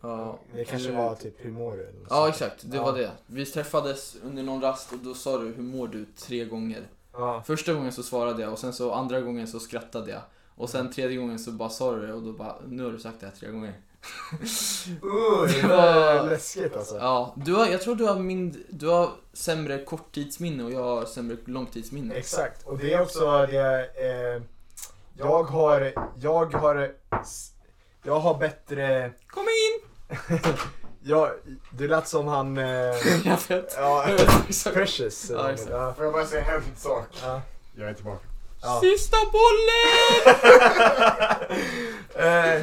A: jag.
C: Ja,
A: Det kanske
C: eller-
A: var typ hur mår du? eller något
C: Ja
A: sånt där.
C: exakt, det
A: Ja.
C: var det. Vi träffades under någon rast och då sa du hur mår du tre gånger.
A: Ja.
C: Första gången så svarade jag och sen så andra gången så skrattade jag. Och sen tredje gången så bara sa du det och då bara, nu har du sagt det här tre gånger.
A: Uh, det var
C: var-
A: läskigt alltså.
C: Ja, du har, jag tror du har, min, du har sämre korttidsminne och jag har sämre långtidsminne.
A: Exakt, och det är också det... Eh, jag har... Jag har... s- Jag har bättre...
C: Kom in!
A: Jag, det lät som han... Eh,
C: jag vet.
A: ja,
C: Exakt.
A: Precious. eller
C: Ja,
A: något.
C: exakt.
A: Ja,
B: Får jag bara säga en sak?
A: ja.
B: Jag är tillbaka.
A: Ja.
C: Sista bollen!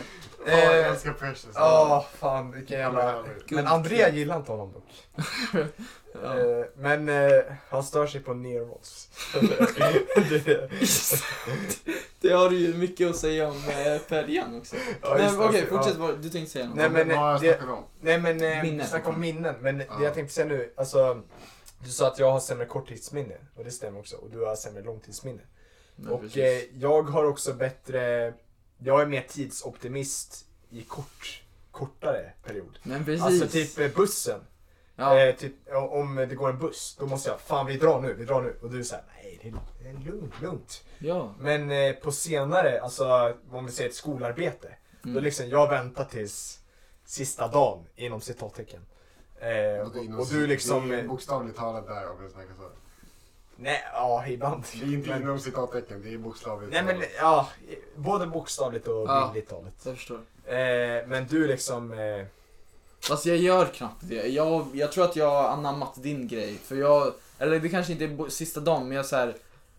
A: Eh,
B: Fan, jag
A: eh,
B: älskar Precious.
A: Ja, fan vilken jävla... Men Andrea gillar inte honom dock.
C: Ja.
A: Eh, men eh, han stör sig på Neros. Det-
C: Det har du ju mycket att säga om eh, färjan också.
A: ja,
C: Nej,
A: just
C: men
A: det,
C: okej,
A: ja.
C: fortsätt. vad- Du tänkte säga något?
A: Nej, men,
B: Vad har jag
A: det-
B: snackat om?
A: Nej men eh, vi
C: Minnen.
A: snackar om minnen. Men
B: Ja.
A: det jag tänkte säga nu, alltså. Du sa att jag har sämre korttidsminne och det stämmer också. Och du har sämre långtidsminne.
C: Nej,
A: och
C: precis.
A: eh, jag har också bättre, jag är mer tidsoptimist i kort, kortare period.
C: men precis.
A: Alltså typ eh, bussen.
C: ja.
A: Eh, typ, ja, om det går en buss, då måste jag fan vi drar nu, vi drar nu. Och du säger nej det är- det är lugnt, lugnt.
C: ja.
A: Men eh, på senare, alltså om vi säger ett skolarbete, då
C: Mm.
A: liksom jag väntar tills sista dagen inom citattecken. Eh,
B: Det är inom
A: och, och du
B: cit-
A: liksom...
B: det är
A: eh,
B: bokstavligt talat där om jag snackar så.
A: Nej, ja ibland.
B: Det är inte
A: Men-
B: inom citattecken, det är bokstavligt
A: Nej men
B: talat.
A: ja, både bokstavligt och
C: Ja.
A: bildligt talat.
C: Jag förstår.
A: Eh, men du liksom... Eh,
C: Fast jag gör knappt det. Jag, jag tror att jag har anammat din grej. För jag, eller det kanske inte är bo- sista dagen, men jag så här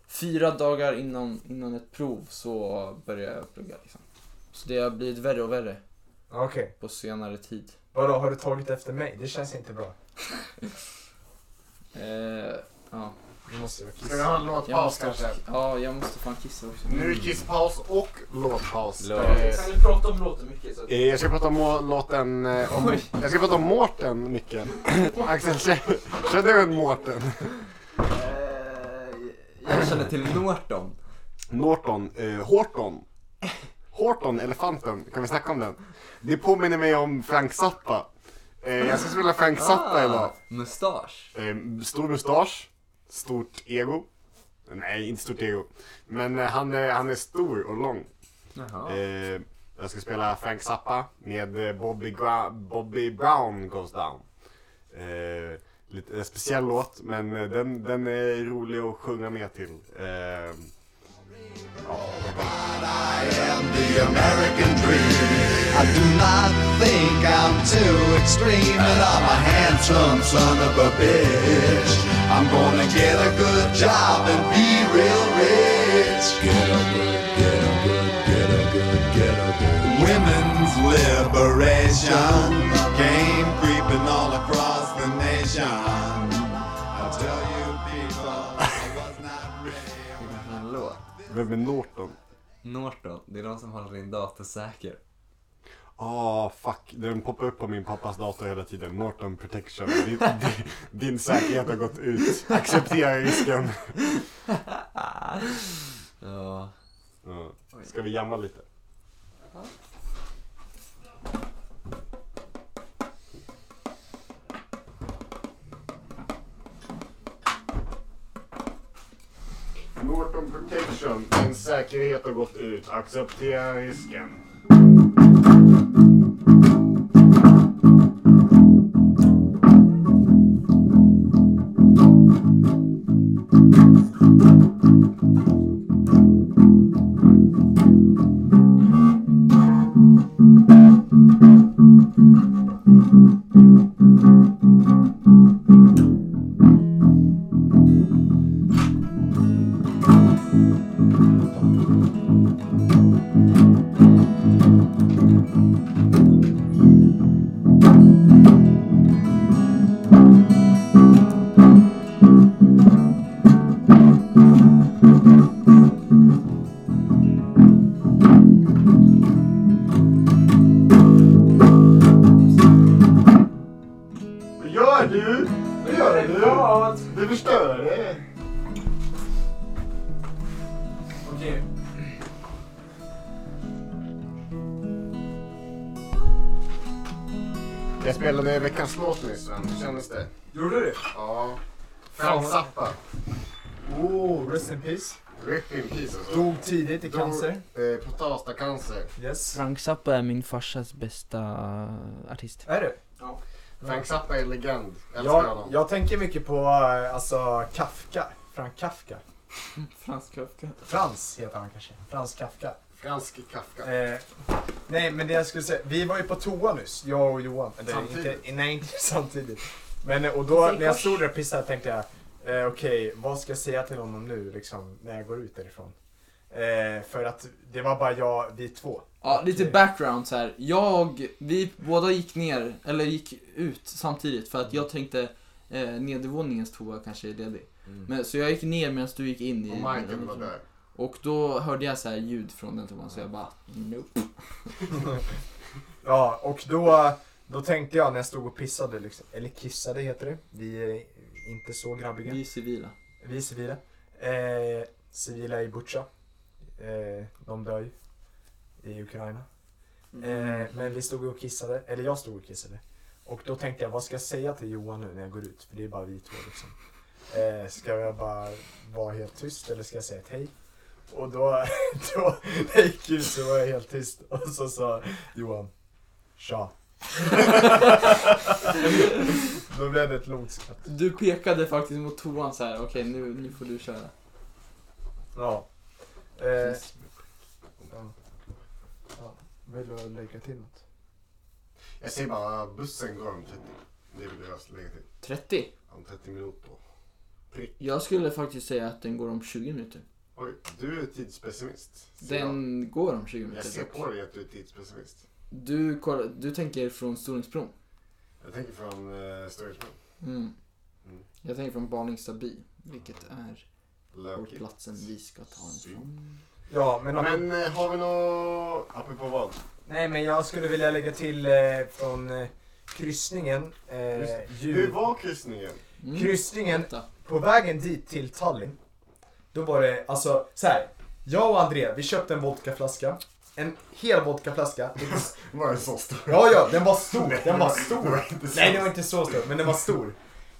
C: fyra dagar innan, innan ett prov så börjar jag plugga liksom. Så det har blivit värre och värre
A: Okej,
C: på senare tid.
A: vadå har du tagit efter mig? Det känns inte bra.
C: Eh, ja.
A: Du måste jag
B: Ska vi ha en
C: Jag
B: låtpaus
C: måste,
B: kanske?
C: ja, jag måste fan kissa också.
B: Nu är det kisspaus och låtpaus.
E: Låt.
B: Eh,
C: du prata om låten mycket? Så att...
B: Eh, Jag ska prata om må- låten... eh, Om, jag ska prata om Mårten mycket. Axel, känner känner du en Mårten?
E: Jag känner till Norton.
B: Norton, eh, Horton. Horton, elefanten. Kan vi snacka om den? Det påminner mig om Frank Zappa. Eh, jag ska spela
C: Ah.
B: Frank Zappa idag.
E: Mustasch.
B: Eh, stor mustasch. Stort ego. Nej, inte stort ego. Men eh, han är, han är stor och lång.
C: Jaha.
B: Eh, jag ska spela Frank Zappa med eh, Bobby, Gra- Bobby Brown Goes Down. Eh, lite en speciell låt, men eh, den, den är rolig att sjunga med till. Eh,
H: the American dream. I do not think I'm too extreme, and I'm a handsome son of a bitch. I'm gonna get a good job and be real rich. Get a good, get a good, get a good, get a good. Women's liberation came creeping all across the nation. I tell you, people, I was not ready.
D: Hallå?
B: vem är Norton?
D: Norton, det är de som håller din dator säker.
B: Ah, fuck. Den poppar upp på min pappas dator hela tiden. Norton Protection. Din, din, din säkerhet har gått ut. Acceptera risken.
D: Ja.
B: Ja. Ska vi jamma lite? Norton Protection, din säkerhet har gått ut. Acceptera risken. Vad gör du? Vad gör du? Du förstör det.
C: Okej.
B: Jag spelade veckans låt nyss, hur kändes det?
A: Gjorde du?
B: Ja. Frank Zappa.
A: Oh, rest in peace.
B: Rip in peace alltså.
A: Dog tidigt i cancer.
B: Eh, prostatacancer.
A: Yes.
C: Frank Zappa är min farsas bästa eh, artist.
A: Är det?
B: Frank Zappa är legend. Jag älskar
A: Jag,
B: honom.
A: jag tänker mycket på eh, alltså Kafka. Frank Kafka.
C: Fransk Kafka.
A: Frans heter han kanske. Frans Kafka.
B: Fransk Kafka.
A: Eh, nej, men det jag skulle säga. Vi var ju på toa nyss, jag och Johan. Eller,
B: Samtidigt.
A: Inte, nej, inte samtidigt. Men, eh, och då när jag stod där och pissade tänkte jag, eh, okej, vad ska jag säga till honom nu liksom, när jag går ut därifrån? Eh, för att det var bara jag, vi två. Eh,
C: Ja, lite
A: Okej.
C: background så här. Jag, vi båda gick ner, eller gick ut samtidigt för att jag tänkte eh, nedervåningens toa kanske är ledig. Men, så jag gick ner medan du gick in i...
B: Och Michael var där.
C: Och då hörde jag så här ljud från den toan så jag bara nope.
A: Ja, och då, då tänkte jag när jag stod och pissade, liksom, eller kissade heter det. Vi är inte så grabbiga.
C: Vi är civila.
A: Vi är civila. Eh, civila i Butja. Eh, de dör ju i Ukraina. Eh, men vi stod och kissade, eller jag stod och kissade. Och då tänkte jag, vad ska jag säga till Johan nu när jag går ut? För det är bara vi två liksom. Eh, ska jag bara vara helt tyst eller ska jag säga ett hej? Och då, då när jag gick ut så var jag helt tyst och så sa Johan, tja. då blev det ett långt skratt.
C: Du pekade faktiskt mot toan så här. okej nu, nu får du
B: Eh.
C: köra.
A: Ja. Eh, ja. ja. Vill du lägga till något?
B: Jag säger bara bussen går om 30. Det är väl det jag ska lägga till.
C: 30?
B: Om 30 minuter.
C: Jag skulle faktiskt säga att den går om 20 minuter.
B: Oj, du är tidspessimist. Ser
C: Den går om 20
B: jag. Jag
C: minuter.
B: ser
C: dock.
B: på dig att du är tidspessimist.
C: Du, kollar- du tänker från Storingsbron?
B: Jag tänker från uh, Storagebron.
C: Mm.
B: Mm.
C: Jag tänker från Barlingsta by, vilket är vår
B: Lökigt.
C: platsen vi ska ta en
B: Synd.
C: från.
A: Ja, men, om-
B: Men eh, har vi något... Apropå vad?
A: Nej, men jag skulle vilja lägga till eh, från eh, kryssningen.
B: Just
A: Eh,
B: Hur
A: djur.
B: var kryssningen?
C: Mm.
A: Kryssningen
C: Vänta.
A: på vägen dit till Tallinn. Då var det alltså så här. Jag och André, vi köpte en vodkaflaska. En hel vodkaflaska.
B: Var det så stor?
A: Ja, ja, den var stor. Den var
B: Det
A: stor.
B: var inte så
A: Nej, den var inte så stor, men den var stor.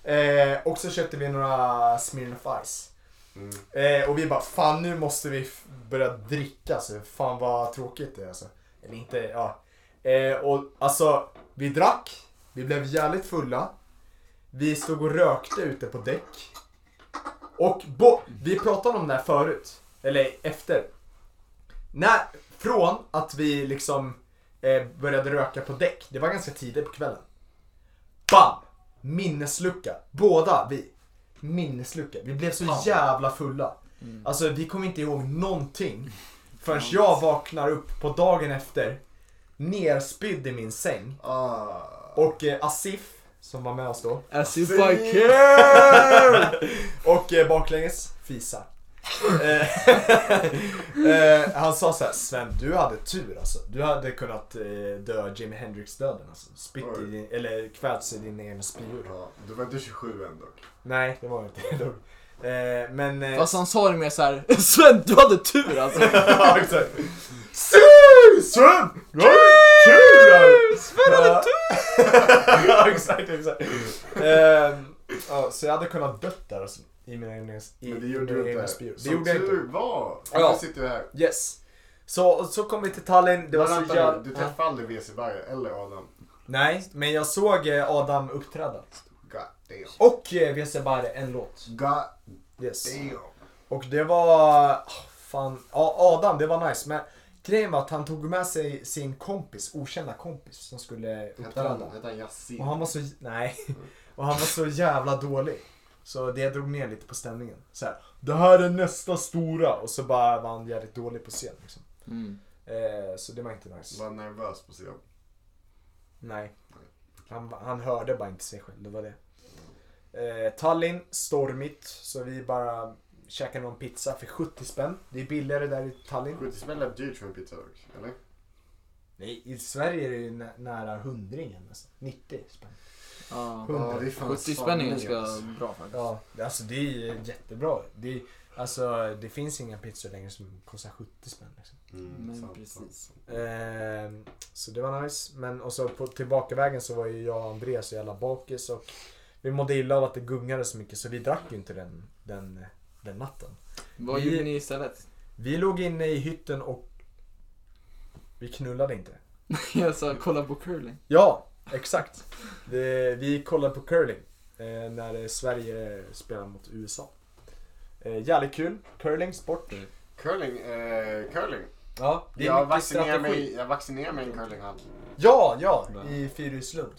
A: Eh, och så köpte vi några Smirnoff Ice. Eh, och vi bara, fan nu måste vi f- börja dricka. Alltså. Fan vad tråkigt det är. Alltså. Eller inte, ja. Eh, och alltså, vi drack, vi blev jävligt fulla. Vi stod och rökte ute på däck. Och bo- vi pratade om det här förut, eller efter. När, från att vi liksom eh, började röka på däck, det var ganska tidigt på kvällen. Bam! Minneslucka. Båda vi. Minneslucka. Vi blev så jävla fulla. Alltså vi kommer inte ihåg någonting. Förrän jag vaknar upp på dagen efter, nerspydd i min säng.
B: Ah,
A: Och eh, Asif, som var med oss då,
C: As if I care!
A: och eh, baklänges, fisa. Eh, eh, han sa så här, Sven du hade tur alltså. Du hade kunnat eh, dö Jimi Hendrix-döden alltså. Spytt i
B: Oj.
A: din, eller kvävts i dina egna spyor.
B: Ja, du var inte 27 än dock.
A: Nej, det var inte det. Eh, men... eh,
C: Fast han sa det mer såhär, Sven du hade tur alltså.
A: ja, exakt. Sven! Sven! Tur! Sven hade tur! ja, exakt, exakt. Ehm, ja, så jag hade kunnat dött där alltså, i mina egna i
B: Men det gjorde
A: mina
B: du
A: egna
B: inte.
A: spyor. Det
B: Som
A: gjorde jag inte.
B: tur var.
A: Ja.
B: Nu sitter vi här.
A: Yes. Så, så kom vi till Tallinn, det var
B: Men
A: så
B: vänta nu,
A: jävla...
B: du träffade aldrig WC Berg eller Adam?
A: Nej, men jag såg eh, Adam uppträda.
B: God damn.
A: Och eh, WC Bare en låt.
B: God
A: Yes.
B: damn.
A: Och det var... ah, Fan. Ja, Adam, det var nice. Men grejen var att han tog med sig sin kompis, okända kompis, som skulle
B: Hette han,
A: uppträda.
B: hette han Yasin?
A: Och han var så... Nej. Och han var så jävla dålig. Så det drog ner lite på stämningen. Så här, det här är nästa stora. Och så bara var han jävligt dålig på scen. Liksom.
E: Mm.
A: Eh, så det var inte nice.
B: Var han nervös på scen?
A: Nej. Han, han hörde bara inte sig själv, det var det. Eh, Tallinn, stormigt. Så vi bara käkade någon pizza för 70 spänn. Det är billigare där i Tallinn.
B: 70 spänn lät dyrt för en pizza dock, eller?
A: Nej, i Sverige är det ju nä- nära hundringen nästan. 90 spänn.
E: Ja.
B: Ja, det är fan
E: 70
B: sanning,
E: spänn är ganska
B: alltså.
E: bra faktiskt.
A: Ja, alltså det är ju jättebra. Det, är, alltså, det finns inga pizzor längre som kostar 70 spänn. Liksom.
B: Mm,
E: Men
B: sant,
E: precis.
B: sant.
A: Ehm, så det var nice. Men och så på tillbakavägen så var ju jag och Andreas så jävla bakis och vi mådde illa av att det gungade så mycket så vi drack ju inte den, den, den natten.
E: Vad
A: Vi-
E: gjorde ni istället?
A: Vi låg inne i hytten och vi knullade inte.
E: Jag sa kolla på curling.
A: Ja, exakt. Det, vi kollade på curling eh, när eh, Sverige spelar mot USA. Eh, jävligt kul. Curling, sport.
B: Curling, eh, curling.
A: Ja, det är
B: Mm. Jag
A: mycket
B: vaccinerar,
A: strategi.
B: mig, jag vaccinerar mig i en curlinghall.
A: Ja, ja, i Fyrishslund.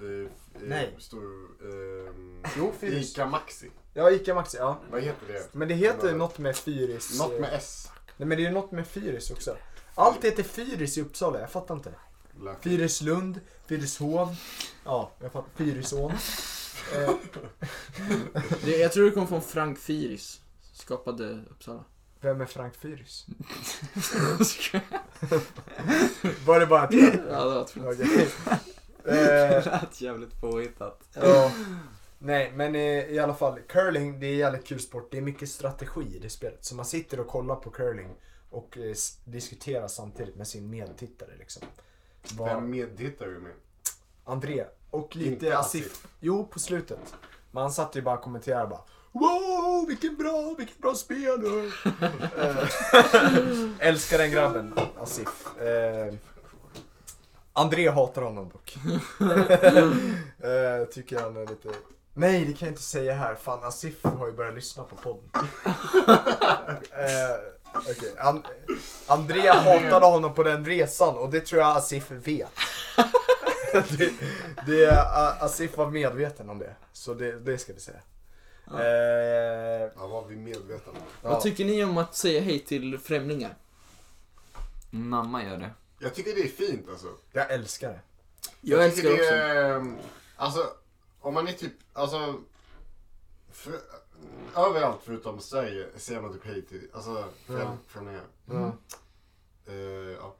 B: I, i
A: Nej.
B: Stor, ehm,
A: Jo, Fyrishs-
B: Ica Maxi.
A: Ja, Ica Maxi. Ja.
B: Vad heter det?
A: Men det heter ju något med Fyris. eh,
B: Något med S.
A: Nej, men det är ju något med Fyris också. Allt heter Fyris i Uppsala, jag fattar inte. Fyrislund, Fyrishov. Ja, jag fattar. Fyrisån. Eh,
E: Det, jag tror det kom från Frank Firis. Skapade Uppsala.
A: vem är Frank Fyris?
E: Ska jag-
A: Var det bara ett
E: ja, det var tråkigt.
A: Okej. Eh,
D: lät jävligt påhittat.
A: Ja. Nej, men eh, i, i alla fall. Curling, det är en jävligt kul sport. Det är mycket strategi i det spelet. Så man sitter och kollar på curling och eh, s- diskuterar samtidigt med sin medtittare. Liksom. Vad-
B: Vem medhittar du med?
A: André och lite
B: Inte Asif.
A: Asif. Jo, på slutet. Men han satt ju bara och kommenterade bara. Wow, vilken bra, vilken bra spel! Eh, Älskar den grabben, Asif. Eh, André hatar honom dock. eh, tycker han är lite... Nej, det kan jag inte säga här. Fan, Asif har ju börjat lyssna på podden. eh, okej. An- André hatade honom på den resan och det tror jag Asif vet det, det, A- Asif var medveten om det. Så det, det ska vi säga. Eh,
B: Ja, vad vi medvetna om.
A: ja.
E: Vad tycker ni om att säga hej till främlingar?
D: Mamma gör det.
B: Jag tycker det är fint alltså.
A: jag älskar det.
E: Jag, älskar det
B: tycker
E: också.
B: det också. Alltså, om man är typ, alltså. För, överallt förutom Sverige säger man typ hej till, alltså främ- främlingar.
C: Mm.
A: Ja.
B: Eh, ja.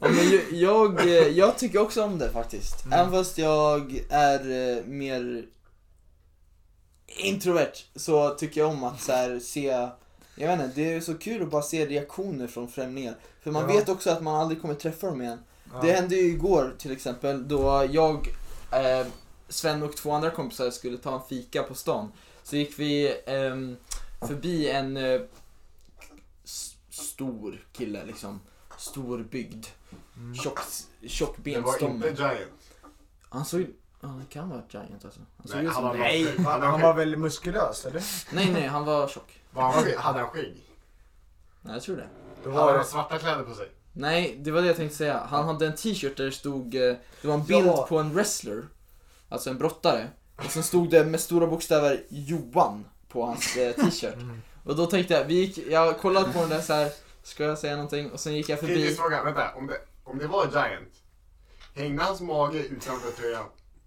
E: Ja, men ju- jag, eh, jag tycker också om det faktiskt. Även fast jag är eh, mer introvert så tycker jag om att så här, se jag vet inte, det är så kul att bara se reaktioner från främlingar. För man
A: Ja.
E: vet också att man aldrig kommer träffa dem igen.
A: Ja.
E: Det hände ju igår till exempel då jag eh,
C: Sven och två andra kompisar skulle ta en fika på stan så gick vi ehm, förbi en eh, s- stor kille liksom. Stor byggd. Tjock, tjock
B: Det var inte
C: benstomme.
B: Giant.
C: Han såg Ja, han kan vara giant alltså. Han såg
B: Nej,
C: ut som...
B: han var
C: nej.
B: nej.
A: Han, han var väl muskulös eller?
C: nej, nej, han var tjock.
B: Var han skägg? Hade han skägg?
C: Nej, jag tror det.
A: Då
B: Hade
A: var
B: han
A: det...
B: svarta kläder på sig?
C: Nej, det var det jag tänkte säga. Han hade en t-shirt där det stod, eh, det var en bild
A: Ja.
C: på en wrestler, alltså en brottare. Och sen stod det med stora bokstäver Johan på hans eh, t-shirt.
B: Mm.
C: Och då tänkte jag, vi gick, jag kollade på den där så här. ska jag säga någonting? Och sen gick jag förbi.
B: Kritisk fråga, vänta. Om det, om det var Giant, hängde hans mage utanför tröjan?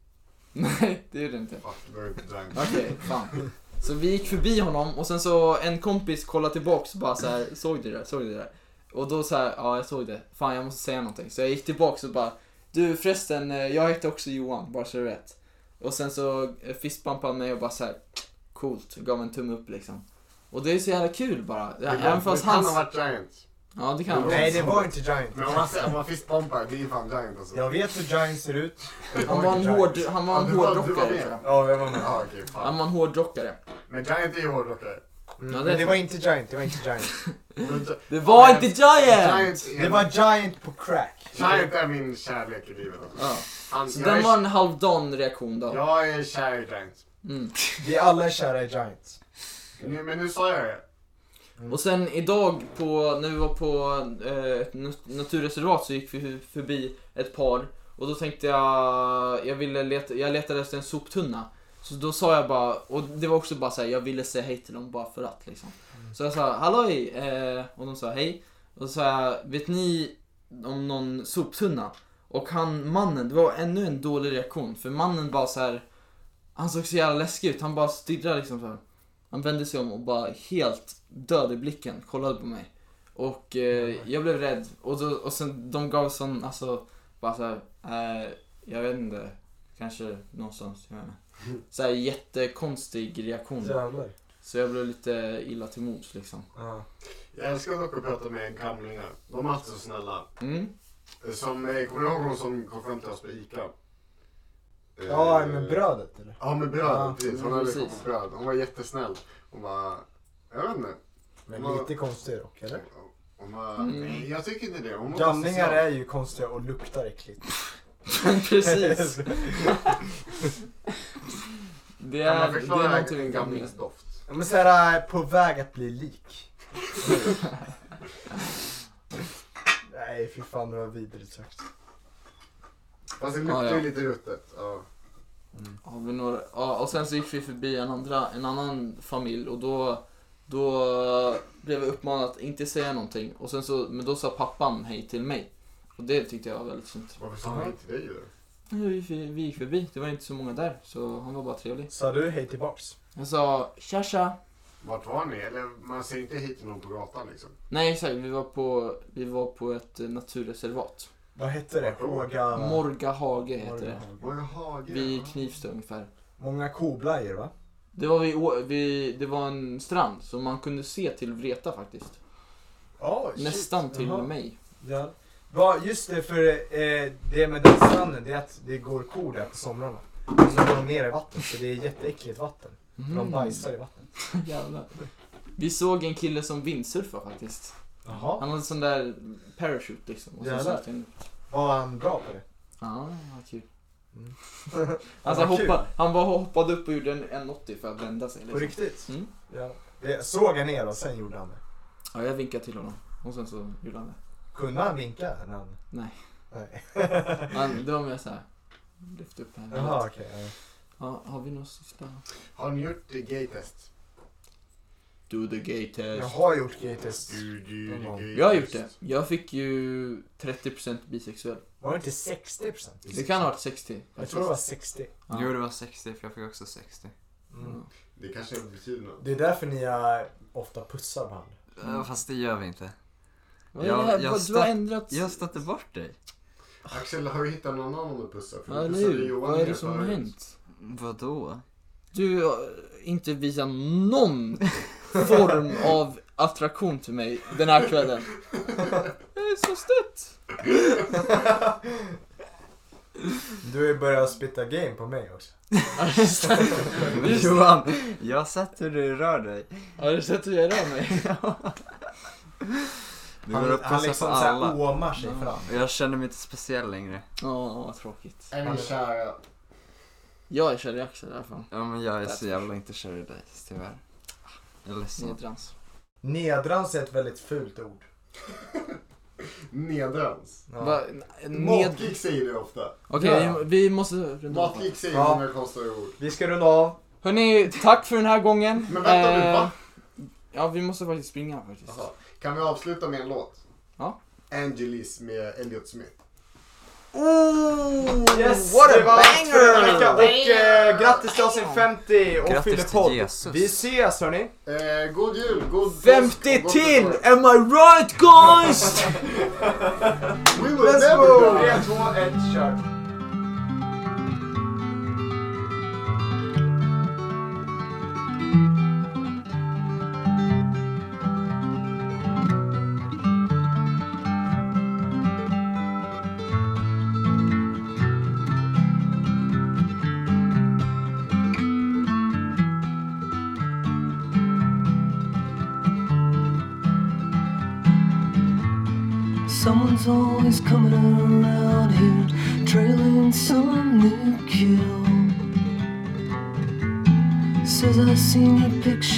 C: Nej, det gjorde det inte.
B: Fuck, det var inte Giant.
C: Okej, fan. Så vi gick förbi honom och sen så en kompis kollade tillbaks och bara så här, såg du det där, såg du det där? Och då så här, ja jag såg det, fan jag måste säga någonting. Så jag gick tillbaks och bara, du förresten, eh, jag heter också Johan, bara så du vet. Och sen så eh, fistbumpade han mig och bara så här, coolt, gav en tumme upp liksom. Och det är så jävla kul bara.
B: Det
C: Även
B: var- det
C: fast
B: kan
C: hans...
B: ha varit Giant.
C: Ja det kan
A: Nej det
C: han.
A: var inte Giant.
B: Men om man, om man fistbumpar, det är ju fan Giant alltså.
A: Jag vet hur Giant ser ut. Det
C: Han var en
A: inte
C: hård,
A: Giant.
C: han var en
B: Ja, du var- du var
C: hårdrockare
B: med.
C: tror jag.
A: Ja, jag var med.
B: Ja, okej,
C: Han
B: fan.
C: var en hårdrockare.
B: Men Giant är ju hårdrockare.
C: Ja,
A: Men
C: det,
A: det var inte Giant, det var inte Giant.
C: det var
B: Ja,
C: inte Giant!
B: är-
A: Det var Giant på crack.
B: Giant är min kärlek i livet alltså.
C: Ja.
B: Han,
C: Så
B: jag, är,
C: den var en halvdan reaktion då.
B: jag är kär i Giant.
C: Mm.
A: Vi alla är kära i Giant.
B: Nu, men nu sa jag det.
C: Och sen idag på, när vi var på eh, ett nat- naturreservat så gick vi förbi ett par och då tänkte jag, jag, ville leta, jag letade efter en soptunna. Så då sa jag bara, och det var också bara såhär, jag ville säga hej till dem bara för att liksom. Så jag sa halloj eh, och de sa hej. Och så sa jag, vet ni om någon soptunna? Och han, mannen, det var ännu en dålig reaktion för mannen bara så här. han såg så jävla läskig ut, han bara stirrade liksom så här. Han vände sig om och bara helt död i blicken kollade på mig. Och eh, jag blev rädd. Och, då, och sen de gav sån, alltså, bara såhär, eh, jag vet inte, kanske någonstans, jag vet inte. Såhär jättekonstig reaktion.
A: Jävlar.
C: Så jag blev lite illa till mods liksom.
A: Ja.
B: Jag älskar dock att prata med gamlingar. De är alltid så snälla.
C: Mm.
B: Som, eh, kommer du ihåg hon som kom fram till oss på ICA? Eh,
A: Ja, men brödet eller?
B: Ja, med bröd.
A: Ja,
B: precis. Hon hade
C: Mm, precis.
B: kommit bröd. Hon var jättesnäll. Hon bara, jag vet inte.
A: Men
B: Vad-
A: lite konstig dock, eller?
B: Hon bara,
C: Mm.
B: nej jag tycker inte det. Hon var
A: Gamlingar
B: social.
A: är ju konstiga och luktar äckligt.
C: Precis. Det är, det
B: Kan man
C: är
B: förklara
C: någonting
B: en
C: med gamlingar.
B: gamlings doft?
A: Ja, Men såhär, på väg att bli lik. Nej, fy fan det var vidrigt sagt.
B: Fast det luktar ju
C: Ja, ja.
B: lite ruttet. Ja.
C: Har vi några, ja, och sen så gick vi förbi en, andra, en annan familj och då, då blev jag uppmanad att inte säga någonting. Och sen så, men då sa pappan hej till mig. Och det tyckte jag var väldigt fint.
B: Varför sa han inte dig då?
C: Vi, vi gick förbi, det var inte så många där. Så han var bara trevlig.
A: Sa du hej tillbaks?
C: Jag sa tja tja.
B: Vart var ni? Eller man ser inte hit till någon på gatan liksom.
C: Nej exakt, vi var på, vi var på ett eh, naturreservat.
A: Vad hette det? Håga...
C: Morgahage heter det.
A: Morgonhage.
B: Var är Hage?
C: Vid Knivsta ungefär.
A: Många koblajor va?
C: Det var, vid, å- vid, det var en strand så man kunde se till Vreta faktiskt.
A: Oh, shit.
C: Nästan till
A: Jaha.
C: mig.
A: Ja. Va, just det, för eh, det med den stranden det är att det går kor där på somrarna. Och så går de ner i vattnet, så det är jätteäckligt vatten. För De bajsar i vattnet.
C: Jävlar. Mm. Vi såg en kille som vindsurfar faktiskt.
A: Jaha.
C: Han hade en sån där parachute liksom. Och så
A: Jävlar.
C: satt han
A: Var han bra på det?
C: Ja, vad kul.
A: Mm.
C: alltså, han,
A: Vad kul.
C: hoppade, han bara hoppade upp och gjorde en 180 för att vända sig.
A: På
C: Liksom.
A: riktigt?
C: Mm.
A: Ja. Det såg jag ner och sen gjorde han det.
C: Ja, jag vinkade till honom och sen så gjorde han det.
A: Kunde han vinka? när Han...
C: Nej.
A: Nej.
C: Han, det var mer såhär, lyft upp henne.
A: Jaha, okej. ja.
C: Ja, har vi något sista?
B: Har ni gjort eh, gay-test?
C: Do the gay
A: Jag
C: test.
A: har gjort gaytest.
C: Jag har gjort det. Jag fick ju 30% bisexuell.
A: Var det inte 60 procent?
C: Det kan ha varit 60.
A: Jag tror det var 60.
C: Ja.
D: Jo, det var 60 för jag fick också 60.
A: Mm.
B: Det kanske inte betyder något.
A: Det är därför ni eh, ofta pussar varandra.
C: Mm.
D: Eh, Fast det gör vi inte.
C: Vad är det
D: Jag-
C: här?
D: jag
C: Vad- Du har
D: stack-
C: ändrat...
D: Jag stötte bort dig.
B: Axel, har du hittat någon annan att pussa?
C: Ja,
B: du
C: eller
B: pussade
C: hur?
B: Johan
C: Vad är
B: mer
C: det som har
B: förut.
C: hänt?
D: Vadå?
C: Du har inte visat någon form av attraktion till mig den här kvällen. Jag är så stött.
A: Du har börjat spitta game på mig också.
D: Johan, jag har sett hur du rör dig.
C: Har du sett hur jag rör mig?
D: Du går
A: Han,
D: upp
A: han liksom
D: och liksom på
A: såhär
D: alla.
A: åmar sig fram.
D: Jag känner mig inte speciell längre.
C: Ja, vad tråkigt.
B: Är ni kära?
C: Jag är kär i Axel i alla fall.
D: Ja men jag är
C: That's
D: så jävla inte kär i dig, tyvärr. Jag är ledsen.
C: Nedrans.
A: Nedrans är ett väldigt fult ord.
B: Nedrans.
A: Ja.
C: Va, n- ned...
B: Matgeek säger det ofta.
C: Okej,
A: Ja.
C: vi, vi måste runda av.
B: Matgeek säger
A: Ja.
B: många konstiga ord.
A: Vi ska runda av.
C: Hörni, tack för den här gången.
B: Men vänta nu,
C: Eh,
B: va?
C: Ja, vi måste faktiskt springa faktiskt.
B: Jaha. Kan vi avsluta med en låt?
C: Ja.
B: Angelis med Elliot Smith.
A: Yes, det var allt för denna vecka. Och eh, grattis till avsnitt 50 och
D: Grattis
A: fyllepodd.
D: till Jesus.
A: Vi ses hörni.
B: Eh, god jul, god påsk och
C: 50
B: gott
C: till!
B: nytt år.
C: Am I right guys?
B: We will
A: Let's
B: never
A: go!
B: die.
A: 3, 2, 1, kör.
J: Someone's always coming around here, trailing some new kill. Says I seen your picture